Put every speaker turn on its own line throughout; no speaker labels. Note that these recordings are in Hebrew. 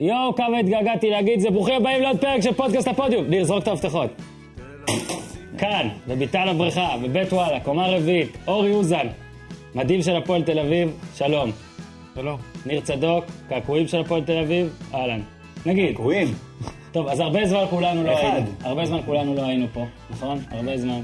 יואו, כמה התגעגעתי להגיד זה. ברוכים הבאים לעוד פרק של פודקאסט הפודיום. ניר, זרוק את המפתחות. כאן, בביתן הבריכה, בבית וואלה, קומה רביעית, אורי אוזן, מדהים של הפועל תל אביב, שלום.
שלום.
ניר צדוק, קעקועים של הפועל תל אביב, אהלן. נגיד.
גרועים.
טוב, אז הרבה זמן כולנו לא
אחד.
היינו. הרבה זמן כולנו לא היינו פה, נכון? הרבה זמן.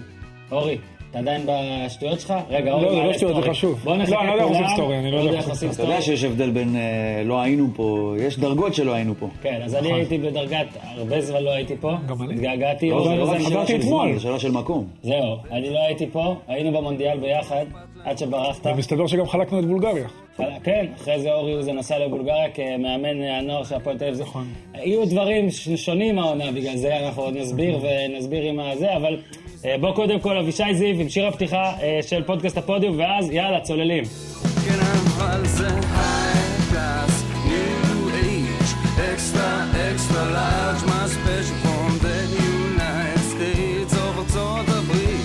אורי, אתה עדיין בשטויות שלך? רגע, אורי,
לא, זה לא
מעלה
שטויות, זה
סטורי.
חשוב.
בוא נחכה
לא, אני לא יודע איך עושים
כולם.
סטורי, אני לא יודע איך עושים
עושים
סטורי.
אתה יודע שיש הבדל בין אה, לא היינו פה, יש דרגות שלא היינו פה.
כן, אז אני הייתי בדרגת, הרבה זמן לא הייתי פה.
גם אני.
התגעגעתי.
לא, זה
אורי
לא
אוזן,
רק שאלה של
אתמול.
זמן, זה שאלה של מקום.
זהו, אני לא הייתי פה, היינו במונדיאל ביחד, עד שברחת.
מסתבר שגם חלקנו את בולגריה.
אבל כן, אחרי זה אורי אוזן נסע לבולגריה כמאמן הנוער של הפועל תל אביב.
נכון.
יהיו דברים ש- שונים העונה, בגלל זה אנחנו עוד נסביר ונסביר עם הזה, אבל אה, בוא קודם כל אבישי זיו עם שיר הפתיחה אה, של פודקאסט הפודיום, ואז יאללה, צוללים.
Can I find the high class, new age, extra, extra large, my special from the United States או ארצות הברית?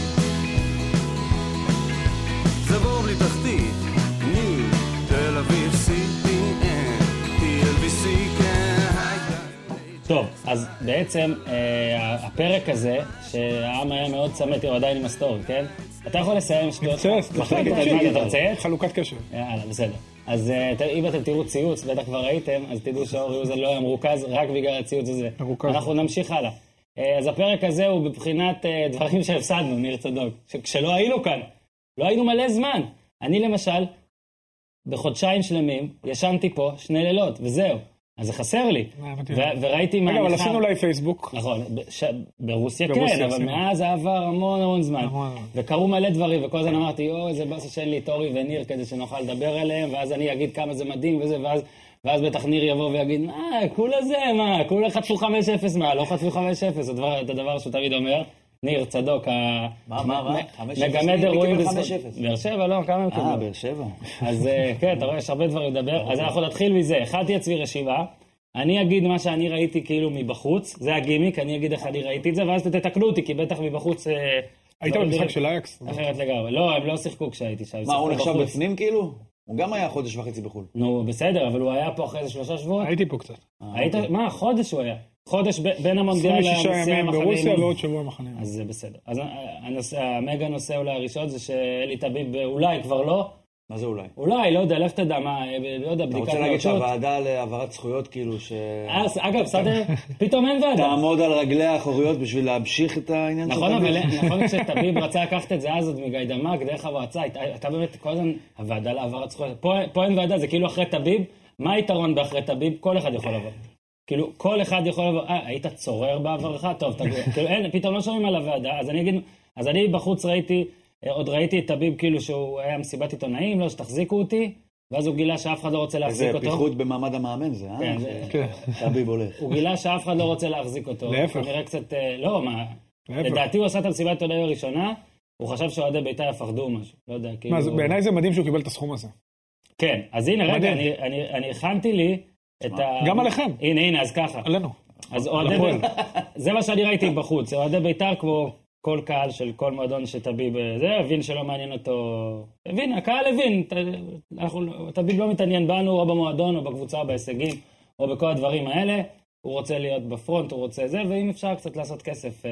זה בור בלי תחתית, ניו, תל אביב, CTN, TLBC, כן, היי.
טוב, אז בעצם אה, הפרק הזה, שהעם היה מאוד צמא, תראו, עדיין עם הסטורי, כן? אתה יכול לסיים עם שטויות?
מצייץ, תצייץ,
מחלקת
תמשיך.
הליגה, אתה מצייץ?
חלוקת קשר.
יאללה, בסדר. אז אה, ת- אם אתם תראו ציוץ, בטח כבר ראיתם, אז תדעו שאורי אוזן לא היה מרוכז רק בגלל הציוץ הזה.
מרוכז.
אנחנו נמשיך הלאה. אה, אז הפרק הזה הוא בבחינת אה, דברים שהפסדנו, ניר צדוק. ש- כשלא היינו כאן, לא היינו מלא זמן. אני למשל, בחודשיים שלמים, ישנתי פה שני לילות, וזהו. אז זה חסר לי.
אה, הבנתי.
ו- וראיתי מה...
רגע, אבל
נכתב-
עשינו אולי פייסבוק.
נכון, ב- ש- ברוסיה
ברוסיה
כן, אבל
עשינו.
מאז עבר המון המון זמן.
המון.
וקרו מלא דברים, וכל הזמן אמרתי, אוי, זה באסה שאין לי את אורי וניר כדי שנוכל לדבר עליהם, ואז אני אגיד כמה זה מדהים וזה, ואז, ואז בטח ניר יבוא ויגיד, מה, כולה זה, מה, כולה חטפו 5-0, מה, לא חטפו 5-0, זה דבר, את הדבר שהוא תמיד אומר. ניר צדוק, ה-
מה, מה, מה? 5-0? מי
מגמד
קיבל
אירועים
5-0?
באר שבע, לא, כמה הם
אה,
קיבלו?
באר שבע.
אז אה, כן, אתה רואה, יש הרבה דברים לדבר. אז אנחנו נתחיל מזה. הכנתי אצלי רשימה, אני אגיד מה שאני ראיתי כאילו מבחוץ, זה הגימיק, אני אגיד איך אני ראיתי את זה, ואז תתקנו אותי, כי בטח מבחוץ... אה,
היית
לא
במשחק
יודעים.
של אייקס?
אחרת לגמרי. לא, הם לא שיחקו כשהייתי שם. הם
מה, הוא
שיחקו
נחשב
בחוץ.
בפנים כאילו? הוא גם היה חודש וחצי בחו"ל.
נו, בסדר, אבל הוא היה פה אחרי איזה שלושה שבועות.
הייתי פה קצת.
היית...
אוקיי.
מה, חודש הוא היה. חודש ב- בין המונדיאל
26
לנשיא
ימים
המחנה
ברוסיה
אימון.
ועוד שבוע מחנה.
אז זה בסדר. אז אה, הנושא, המגה נושא אולי הראשון זה שאלי טביב אולי כבר לא,
מה זה אולי?
אולי, לא יודע, לך תדע מה, אה, לא יודע,
אתה
בדיקת
רוצה להגיד
נאותות.
שהוועדה להעברת זכויות, כאילו, ש...
אז, אה, אגב, סאדר, פתאום אין ועדה.
תעמוד על רגליה האחוריות בשביל להמשיך את העניין של
נכון,
טביב?
אבל נכון כשטביב רצה לקחת את זה אז עוד מגיידמק, דרך המועצה, היית- הייתה באמת כל הזמן הוועדה להעברת זכויות. פה- פה אין ועדה, זה כאילו אחרי טביב, מה היתרון באחרי טביב? כל אחד יכול לבוא. כאילו, כל אחד יכול לבוא, אה, היית צורר בעברך? טוב, תגיד, כאילו, אין, פתאום לא שומעים על הוועדה, אז אני אגיד, אז אני בחוץ ראיתי, אה, עוד ראיתי את טביב כאילו שהוא היה מסיבת עיתונאים, לא, שתחזיקו אותי, ואז הוא גילה שאף אחד לא רוצה
איזה
להחזיק אותו.
פיחות במעמד המאמן זה, אה?
כן, זה-
כן.
שטביב הולך.
הוא גילה שאף אחד לא רוצה להחזיק אותו.
להפך.
הוא נראה קצת, אה, לא, מה,
להפך.
לדעתי הוא עשה את המסיבת עיתונאים הראשונה, הוא חשב שאוהדי בית"ר יפחדו או משהו, לא יודע, כאילו...
מה, זה- בעיניי זה מדהים שהוא קיבל את הסכום הזה.
כן, אז הנה, רגע,
מדהים.
אני- אני- אני הכנתי לי את ה...
גם עליכם.
הנה, הנה, אז ככה.
עלינו.
אז אוהדי
הפועל.
בית"ר, זה מה שאני ראיתי בחוץ, אוהדי בית"ר כמו כל קהל של כל מועדון שתביב זה, הבין שלא מעניין אותו, הבין, הקהל הבין, ת- אנחנו לא- תביב לא מתעניין בנו או במועדון או בקבוצה או בהישגים או בכל הדברים האלה, הוא רוצה להיות בפרונט, הוא רוצה זה, ואם אפשר קצת לעשות כסף אה,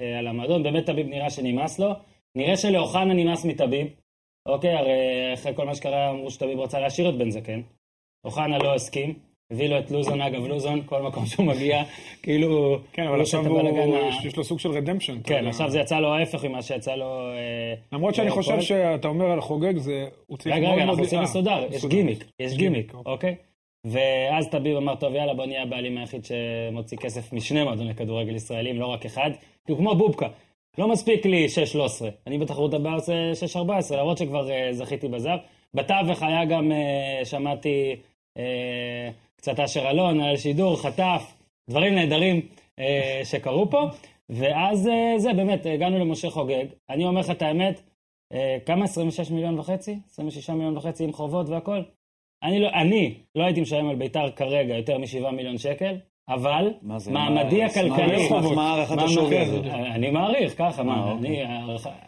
אה, על המועדון, באמת תביב נראה שנמאס לו, נראה שלאוחנה נמאס מתביב, אוקיי, הרי אחרי כל מה שקרה אמרו שתביב רצה להשאיר את בן זקן, אוחנה לא הסכים. הביא לו את לוזון, אגב, לוזון, כל מקום שהוא מגיע, כאילו...
כן, אבל
הוא
עכשיו
עושה את
הוא-
הבלגן ה-
יש- יש לו סוג של רדמפשן.
כן, עכשיו זה יצא לו ההפך ממה שיצא לו... אה,
למרות שאני
אה,
חושב
כל-
שאתה אומר על חוגג, זה... הוא צריך
רגע,
מאוד
רגע,
מאוד-
אנחנו עושים
אה,
מסודר, יש גימיק, יש גימיק,
אוקיי.
אוקיי? ואז טביב אמר, טוב, יאללה, בוא נהיה הבעלים היחיד שמוציא כסף משני מועדוני כדורגל ישראלים, לא רק אחד, כי הוא כמו בובקה. לא מספיק לי 6-13, אני בתחרות הבאה עושה 6-14, למרות שכבר אה, זכיתי בזהב. בתווך היה גם, אה, שמעתי אה, קצת אשר אלון, היה שידור, חטף, דברים נהדרים אה, שקרו פה. ואז אה, זה, באמת, הגענו למשה חוגג. אני אומר לך את האמת, אה, כמה? 26 מיליון וחצי? 26 מיליון וחצי עם חובות והכל? אני לא, אני לא הייתי משלם על ביתר כרגע יותר מ-7 מיליון שקל, אבל
מה זה?
מעמדי
מה-
הכלכלי... כן.
מה- אה, מה הערכת
מעמד-
השווי הזאת? אוקיי.
אני מעריך, ככה, מה, אני-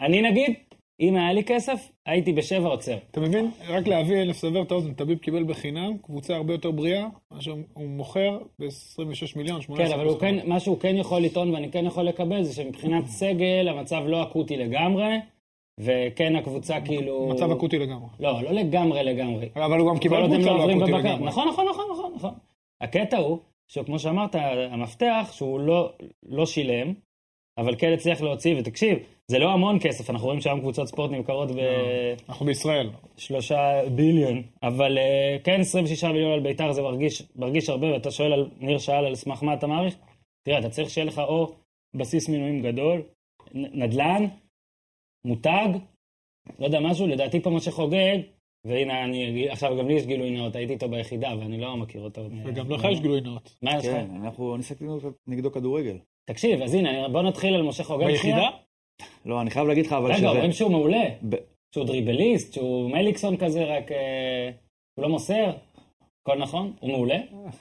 אני נגיד, אם היה לי כסף, הייתי בשבע עוצר.
אתה מבין? רק להביא, לסבר את האוזן, טביב קיבל בחינם, קבוצה הרבה יותר בריאה, מה שהוא מוכר ב-26 מיליון, 18
כן, אבל הוא כן, מה שהוא כן יכול לטעון ואני כן יכול לקבל זה שמבחינת סגל המצב לא אקוטי לגמרי, וכן הקבוצה כאילו...
מצב אקוטי לגמרי.
לא, לא לגמרי לגמרי.
אבל הוא גם
כל
קיבל
עוד הם
קבוצה
לא
לא
עוברים
אקוטי
בבקר.
לגמרי.
נכון, נכון, נכון, נכון, נכון. הקטע הוא, שכמו שאמרת, המפתח שהוא לא, לא שילם, אבל כן הצליח להוציא, ותקשיב, זה לא המון כסף, אנחנו רואים שהיום קבוצות ספורט נמכרות
אנחנו בישראל.
בשלושה ביליון, אבל אה, כן 26 מיליון על ביתר זה מרגיש, מרגיש הרבה, ואתה שואל, על, ניר שאל על סמך מה אתה מעריך? תראה, אתה צריך שיהיה לך או בסיס מינויים גדול, נ- נדל"ן, מותג, לא יודע, משהו, לדעתי פה משה חוגג, והנה, אני, עכשיו גם לי יש גילוי נאות, הייתי איתו ביחידה, ואני לא מכיר אותו. מ-
וגם לך יש גילוי נאות.
מה יש לך?
כן, אנחנו ניסיתי נגדו כדורגל.
תקשיב, אז הנה, בוא נתחיל על משה חוגג.
ביחידה?
שנייה.
לא, אני חייב להגיד לך, אבל
רגע, אומרים
שזה...
שהוא מעולה,
ב-
שהוא דריבליסט, שהוא מליקסון כזה, רק אה, הוא לא מוסר. הכל נכון? הוא מעולה?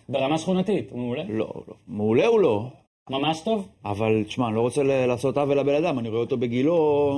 ברמה שכונתית, הוא מעולה?
לא, לא. מעולה הוא לא.
ממש טוב?
אבל תשמע, אני לא רוצה ל- לעשות עוול לבן אדם, אני רואה אותו בגילו...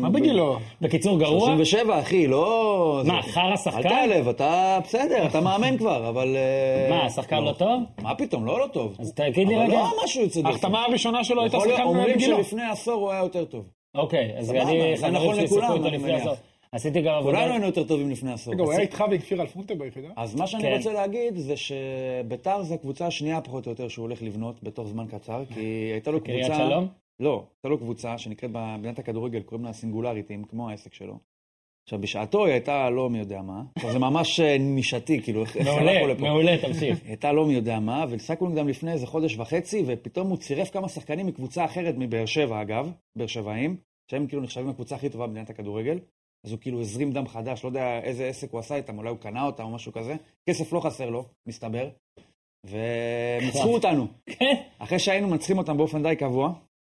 מה בגילו?
בקיצור, גרוע?
37, אחי, לא...
מה,
זה-
חרא
אל
שחקן?
תעלב, אתה בסדר, אתה מאמן כבר, אבל... אה,
מה, השחקן לא טוב?
מה פתאום, לא לא טוב.
אז תגיד לי
אבל
רגע.
לא משהו יוצא דופן.
ההחתמה הראשונה שלו הייתה
יכול להיות-
שחקן
אומרים
בגילו.
שלפני עשור הוא היה יותר טוב.
אוקיי, אז
סבבה,
אני,
זה
חברים
נכון
שלי סיפרו
לכולם,
אותו
אני
לפני
מניח.
הסוף. עשיתי גם
כולנו
עבודה.
לא היינו יותר טובים לפני עשור.
רגע, הוא היה איתך וכפיר אלפונטה ביחידה?
אז מה שאני
כן.
רוצה להגיד זה שביתר זה הקבוצה השנייה פחות או יותר שהוא הולך לבנות בתוך זמן קצר, כי הייתה לו קבוצה...
קריית שלום?
לא, הייתה לו קבוצה שנקראת במדינת הכדורגל, קוראים לה סינגולריטים, כמו העסק שלו. עכשיו, בשעתו היא הייתה לא מי יודע מה. עכשיו, זה ממש אה, נישתי, כאילו, איך איך הלכנו
מעולה,
לפה.
מעולה, תמשיך.
הייתה לא מי יודע מה, ולסקלון גם לפני איזה חודש וחצי, ופתאום הוא צירף כמה שחקנים מקבוצה אחרת מבאר שבע, אגב, באר שבעים, שהם כאילו נחשבים הקבוצה הכי טובה במדינת הכדורגל. אז הוא כאילו הזרים דם חדש, לא יודע איזה עסק הוא עשה איתם, אולי הוא קנה אותם או משהו כזה. כסף לא חסר לו, מסתבר. וניצחו אותנו.
כן.
אחרי שהיינו מנצחים אותם באופן די קבוע.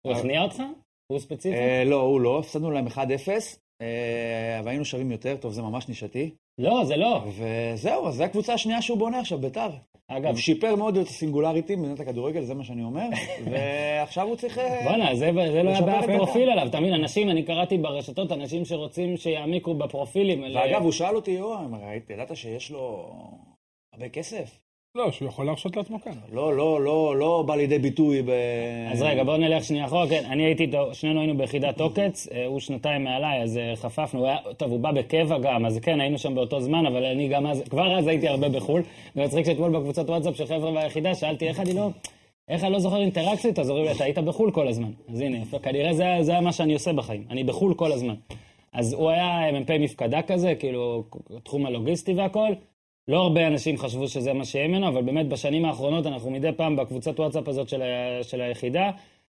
הוא הכניע אותך? הוא ספציפי?
אה, לא, הוא לא, הפסדנו להם 1-0, אה, אבל היינו שווים יותר, טוב, זה ממש נישתי.
לא, זה לא.
וזהו, אז זו הקבוצה השנייה שהוא בונה עכשיו, ביתר.
אגב,
הוא שיפר מאוד את הסינגולריטי במדינת הכדורגל, זה מה שאני אומר, ועכשיו הוא צריך... אה,
בואנה, זה, זה לא היה
לשפר
באף
את ה-
פרופיל עליו, אתה מבין? אנשים, אני קראתי ברשתות, אנשים שרוצים שיעמיקו בפרופילים. על-
ואגב, הוא שאל אותי, יואו, ראית, ידעת שיש לו הרבה כסף?
לא, שהוא יכול להרשות לעצמו כאן.
לא, לא, לא, לא בא לידי ביטוי ב...
אז רגע, בואו נלך שנייה אחורה. כן, אני הייתי איתו, שנינו היינו ביחידת עוקץ, אה, הוא שנתיים מעליי, אז אה, חפפנו. הוא היה, טוב, הוא בא בקבע גם, אז כן, היינו שם באותו זמן, אבל אני גם אז, כבר אז הייתי הרבה בחו"ל. זה מצחיק שאתמול בקבוצת וואטסאפ של חבר'ה מהיחידה, שאלתי איך אני לא... איך אני לא זוכר אינטראקציות? אז אומרים לי, אתה היית בחו"ל כל הזמן. אז הנה, יפה, כנראה זה, זה היה מה שאני עושה בחיים. אני בחו"ל כל הזמן. אז הוא היה אה, מ"פ מפקדה כזה, כאילו, תחום הלוגיסטי והכל. לא הרבה אנשים חשבו שזה מה שיהיה ממנו, אבל באמת בשנים האחרונות אנחנו מדי פעם בקבוצת וואטסאפ הזאת של, ה... של היחידה,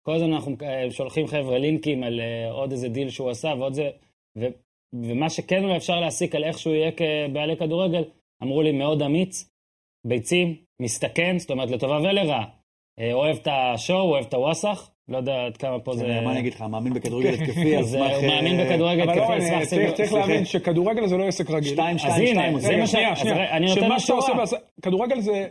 כל הזמן אנחנו אה, שולחים חבר'ה לינקים על אה, עוד איזה דיל שהוא עשה ועוד זה, ו... ומה שכן אולי אפשר להסיק על איך שהוא יהיה כבעלי כדורגל, אמרו לי מאוד אמיץ, ביצים, מסתכן, זאת אומרת לטובה ולרעה. אה, אוהב את השואו, אוהב את הווסאח, לא יודע עד כמה פה זה...
כן,
זה- מה אני אגיד לך, מאמין בכדורגל התקפי, על
זה-
סמך...
הוא מאמין
אה,
בכדורגל,
אבל לא,
כפי,
אני-
סמך
צריך-
סיבוב-
צריך להבין שכדורגל זה לא עסק רגיל.
שתיים,
אז
שתיים,
הנה, כן,
שתיים.
זה
רגע,
מה ש-
שנייה,
אז
שנייה.
רגע, אני נותן
שמה
לו
שאתה עושה,
שורה.
בעס- כדורגל זה,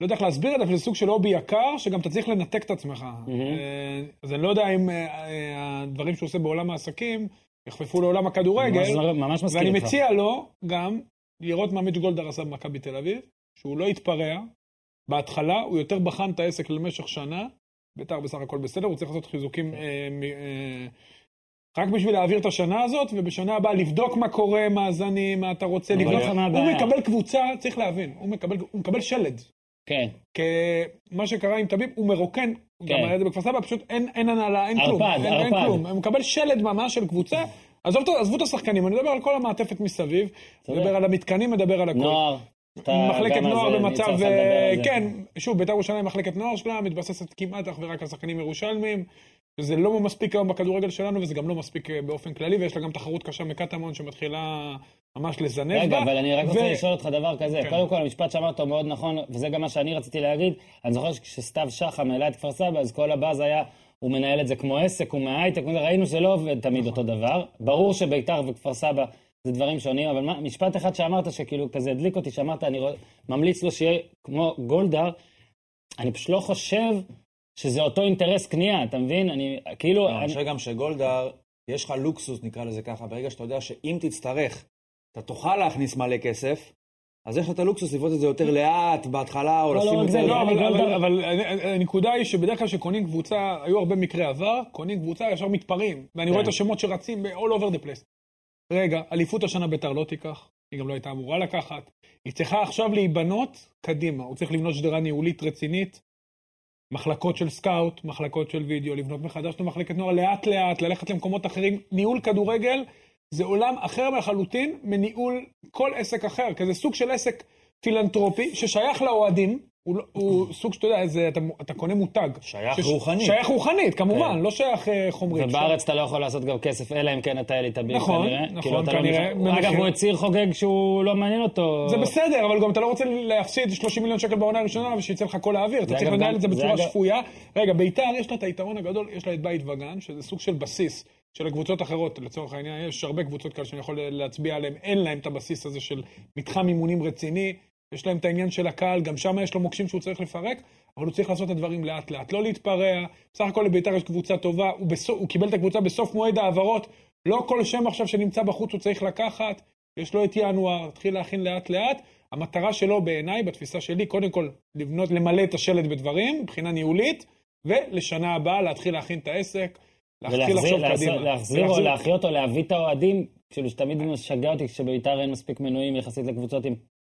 לא יודע איך להסביר את זה, אבל זה סוג של הובי יקר, שגם אתה צריך לנתק את עצמך. אה, אז אני לא יודע אם אה, אה, הדברים שהוא עושה בעולם העסקים יחפפו לעולם הכדורגל,
ממש- ממש מסכים
ואני
איתך.
מציע לו גם לראות מה מיץ' גולדהר עשה במכבי תל אביב, שהוא לא התפרע. בהתחלה הוא יותר בחן את העסק למשך שנה, ביתר בסך הכל בסדר, הוא צריך לעשות חיזוקים
כן.
אה, מ- אה, רק בשביל להעביר את השנה הזאת, ובשנה הבאה לבדוק מה קורה, מאזנים, מה אתה רוצה,
אבל
לבדוק.
איך מה
הוא
הבעיה?
מקבל קבוצה, צריך להבין, הוא מקבל, הוא מקבל שלד.
כן,
מה שקרה עם טביב, הוא מרוקן, הוא
כן.
גם היה את זה בכפר סבא, פשוט אין, אין הנהלה, אין כלום.
ערפד,
אין, אין
ערפד.
כלום. הוא מקבל שלד ממש של קבוצה. עזוב, את- עזבו את השחקנים, אני מדבר על כל המעטפת מסביב,
צודק.
מדבר על המתקנים, מדבר על הכול.
נוער. אתה
מחלקת
גם על
נוער
זה, אני
במצב,
צריך
אה,
לדבר על זה.
כן, שוב, בית"ר ירושלים, מחלקת נוער שלה, מתבססת כמעט אך ורק על שחקנים ירושלמים, שזה לא מספיק היום בכדורגל שלנו, וזה גם לא מספיק אה, באופן כללי, ויש לה גם תחרות קשה מקטמון שמתחילה ממש לזנב בה.
רגע, אבל אני רק
ו-
רוצה לשאול אותך דבר כזה.
כן.
קודם כל, המשפט שאמרת אותו מאוד נכון, וזה גם מה שאני רציתי להגיד. אני זוכר שכשסתיו שחם העלה את כפר סבא, אז כל הבאז היה, הוא מנהל את זה כמו עסק, הוא מההייטק, וזה, ראינו שלא עובד תמיד אותו דבר. ברור שביתר וכפר סבא זה דברים שונים, אבל מה- משפט אחד שאמרת, שכאילו כזה הדליק אותי, שאמרת, אני רוא- ממליץ לו שיהיה כמו גולדהר, אני פשוט לא חושב שזה אותו אינטרס קנייה, אתה מבין? אני, כאילו...
לא, אני
אני-
חושב גם שגולדהר יש לך לוקסוס, נקרא לזה ככה, ברגע שאתה יודע שאם תצטרך, אתה תוכל להכניס מלא כסף, אז יש לך את הלוקסוס לבנות את זה יותר לאט בהתחלה, או
לא,
לשים
רק
את
זה,
זה...
לא, אבל-
גולדהר-
אבל- אבל אני- הנקודה היא שבדרך כלל כשקונים קבוצה, היו הרבה מקרי עבר, קונים קבוצה ישר מתפרעים, ואני רואה את השמות שרצים ב-all over the place. רגע, אליפות השנה ביתר לא תיקח, היא גם לא הייתה אמורה לקחת. היא צריכה עכשיו להיבנות קדימה, הוא צריך לבנות שדרה ניהולית רצינית, מחלקות של סקאוט, מחלקות של וידאו, לבנות מחדש את מחלקת נוער לאט-לאט, ללכת למקומות אחרים. ניהול כדורגל זה עולם אחר לחלוטין מניהול כל עסק אחר, כי זה סוג של עסק פילנטרופי ששייך לאוהדים, הוא, לא- הוא סוג שאתה יודע, זה, אתה, אתה קונה מותג.
שייך רוחנית.
שייך רוחנית, כמובן,
כן.
לא שייך אה, חומרית.
ובארץ אתה לא יכול לעשות גם כסף, אלא אם כן אתה אלי תביב
נכון,
כנראה.
נכון,
כאילו, אתה לא
כנראה,
נכנס- אגב,
במחיר.
הוא הצהיר חוגג שהוא לא מעניין אותו.
זה בסדר, אבל גם אתה לא רוצה להפסיד 30 מיליון שקל בעונה הראשונה ושיצא לך כל האוויר, אתה
זה
צריך
אגב
לנהל
גם-
את זה
זה
בצורה
אגב-
שפויה. רגע, ביתר יש לה את היתרון הגדול, יש לה את בית וגן, שזה סוג של בסיס של הקבוצות האחרות, לצורך העניין, יש הרבה קבוצות כאלה שאני יכול להצביע עליהן, אין להן את הבסיס הזה של מתחם אימונים רציני, יש להם את העניין של הקהל, גם שם יש לו מוקשים שהוא צריך לפרק, אבל הוא צריך לעשות את הדברים לאט לאט, לא להתפרע, בסך הכל לביתר יש קבוצה טובה, הוא, בסוף, הוא קיבל את הקבוצה בסוף מועד ההעברות, לא כל שם עכשיו שנמצא בחוץ הוא צריך לקחת, יש לו את ינואר, התחיל להכין לאט לאט, המטרה שלו בעיניי, בתפיסה שלי, קודם כל לבנות, למלא את השלד בדברים, מבחינה ניהולית, ולשנה הבאה להתחיל להכין את העסק, להתחיל
ולהחזיר,
לחשוב
לעשות-
קדימה.
להחזיר או להחיות או להביא את האוהדים, כאילו שתמיד משגע אותי כשבביתר אין מספיק מנויים יחסית לקבוצות עם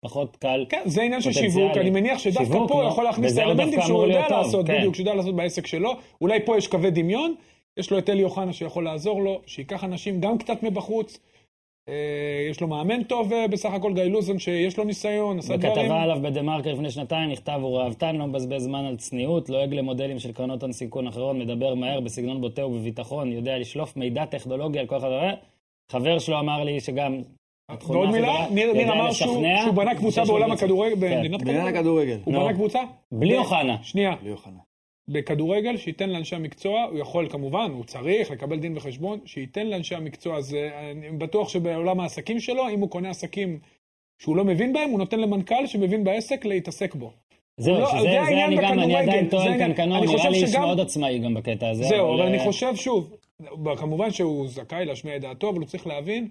פחות קל.
כן, זה עניין של
פוטנציאלי.
שיווק, אני מניח שדווקא
שיווק,
פה הוא
לא?
יכול להכניס את
וזה הוא
האלמנטים
דווקא
שהוא
אמור
יודע
להיות טוב,
לעשות,
כן.
בדיוק, שהוא יודע לעשות בעסק שלו. אולי פה יש קווי דמיון, יש לו את אלי אוחנה שיכול לעזור לו, שייקח אנשים גם קצת מבחוץ. אה, יש לו מאמן טוב אה, בסך הכל, גיא לוזון, שיש לו ניסיון, עשה דברים.
בכתבה עליו בדה מרקר לפני שנתיים נכתב, הוא ראוותן, לא מבזבז זמן על צניעות, לועג למודלים של קרנות הון סיכון אחרות, מדבר מהר בסגנון בוטה ובביטחון, יודע לשלוף מידע טכנולוגי על כל אחד אחר. חבר שלו אמר לי שגם... התכונה
ועוד
הכי
מילה,
גדולה,
ניר
לא יודע
ניר אמר שהוא
לשכנע,
שהוא בנה קבוצה
שיש לו
בעולם
רצון.
הכדורגל,
כן. לא.
במדינת
בעניין
כדורגל.
הכדורגל.
הוא
נו.
בנה קבוצה?
בלי אוחנה.
שנייה,
בלי יוחנן.
בכדורגל, שייתן לאנשי המקצוע, הוא יכול כמובן, הוא צריך לקבל דין וחשבון, שייתן לאנשי המקצוע, זה, אני בטוח שבעולם העסקים שלו, אם הוא קונה עסקים שהוא לא מבין בהם, הוא נותן למנכ"ל שמבין בעסק להתעסק בו.
זהו,
לא,
שזה
זה
זה
העניין
אני גם, אני
בכדורגל,
עדיין
זה
טוען
העניין.
כאן כנוע,
אני
נראה
חושב
לי איש
שגם-
מאוד עצמאי גם בקטע הזה.
זהו, אבל
אה,
אני חושב שוב, כמובן שהוא זכאי להשמיע את דעתו, אבל הוא צריך להבין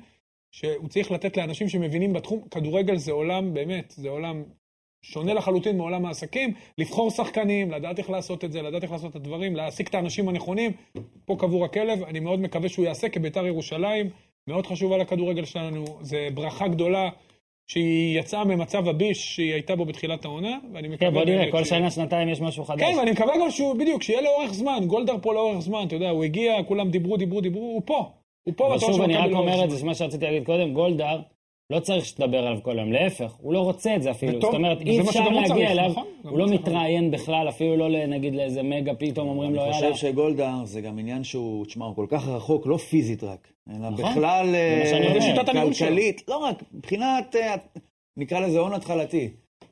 שהוא צריך לתת לאנשים שמבינים בתחום, כדורגל זה עולם, באמת, זה עולם שונה לחלוטין מעולם העסקים, לבחור שחקנים, לדעת איך לעשות את זה, לדעת איך לעשות את הדברים, להעסיק את האנשים הנכונים. פה קבור הכלב, אני מאוד מקווה שהוא יעשה כביתר ירושלים, מאוד חשוב על הכדורגל שלנו, זה ברכה גדולה. שהיא יצאה ממצב הביש שהיא הייתה בו בתחילת העונה, ואני מקווה...
כן, בוא נראה,
באמת
כל
שהיא-
שנה, שנתיים יש משהו חדש.
כן, ואני מקווה גם שהוא, בדיוק, שיהיה לאורך זמן, גולדהר פה לאורך זמן, אתה יודע, הוא הגיע, כולם דיברו, דיברו, דיברו, הוא פה. הוא פה בתור
ושוב,
של
אני רק
מכבי לאורך
אומר את
זמן.
זה, שמה שרציתי להגיד קודם, גולדהר, לא צריך שתדבר עליו כל היום, להפך, הוא לא רוצה את זה אפילו.
וטוב,
זאת אומרת,
וזה
אי
מה
אפשר
שגם הוא צריך,
להגיע אליו,
נכון? גם
הוא לא
הוא צריך.
מתראיין בכלל, אפילו לא ל- נגיד לאיזה מגה, פתאום אומרים לו,
אני
יאללה.
חושב שגולדהר זה גם עניין שהוא, תשמע, הוא כל כך רחוק, לא פיזית רק, אלא בכלל
מה שאני
אה,
אומר. נכון. זה
שיטת הניהול שלו.
כלכלית, לא רק, מבחינת, אה, נקרא לזה הון התחלתי.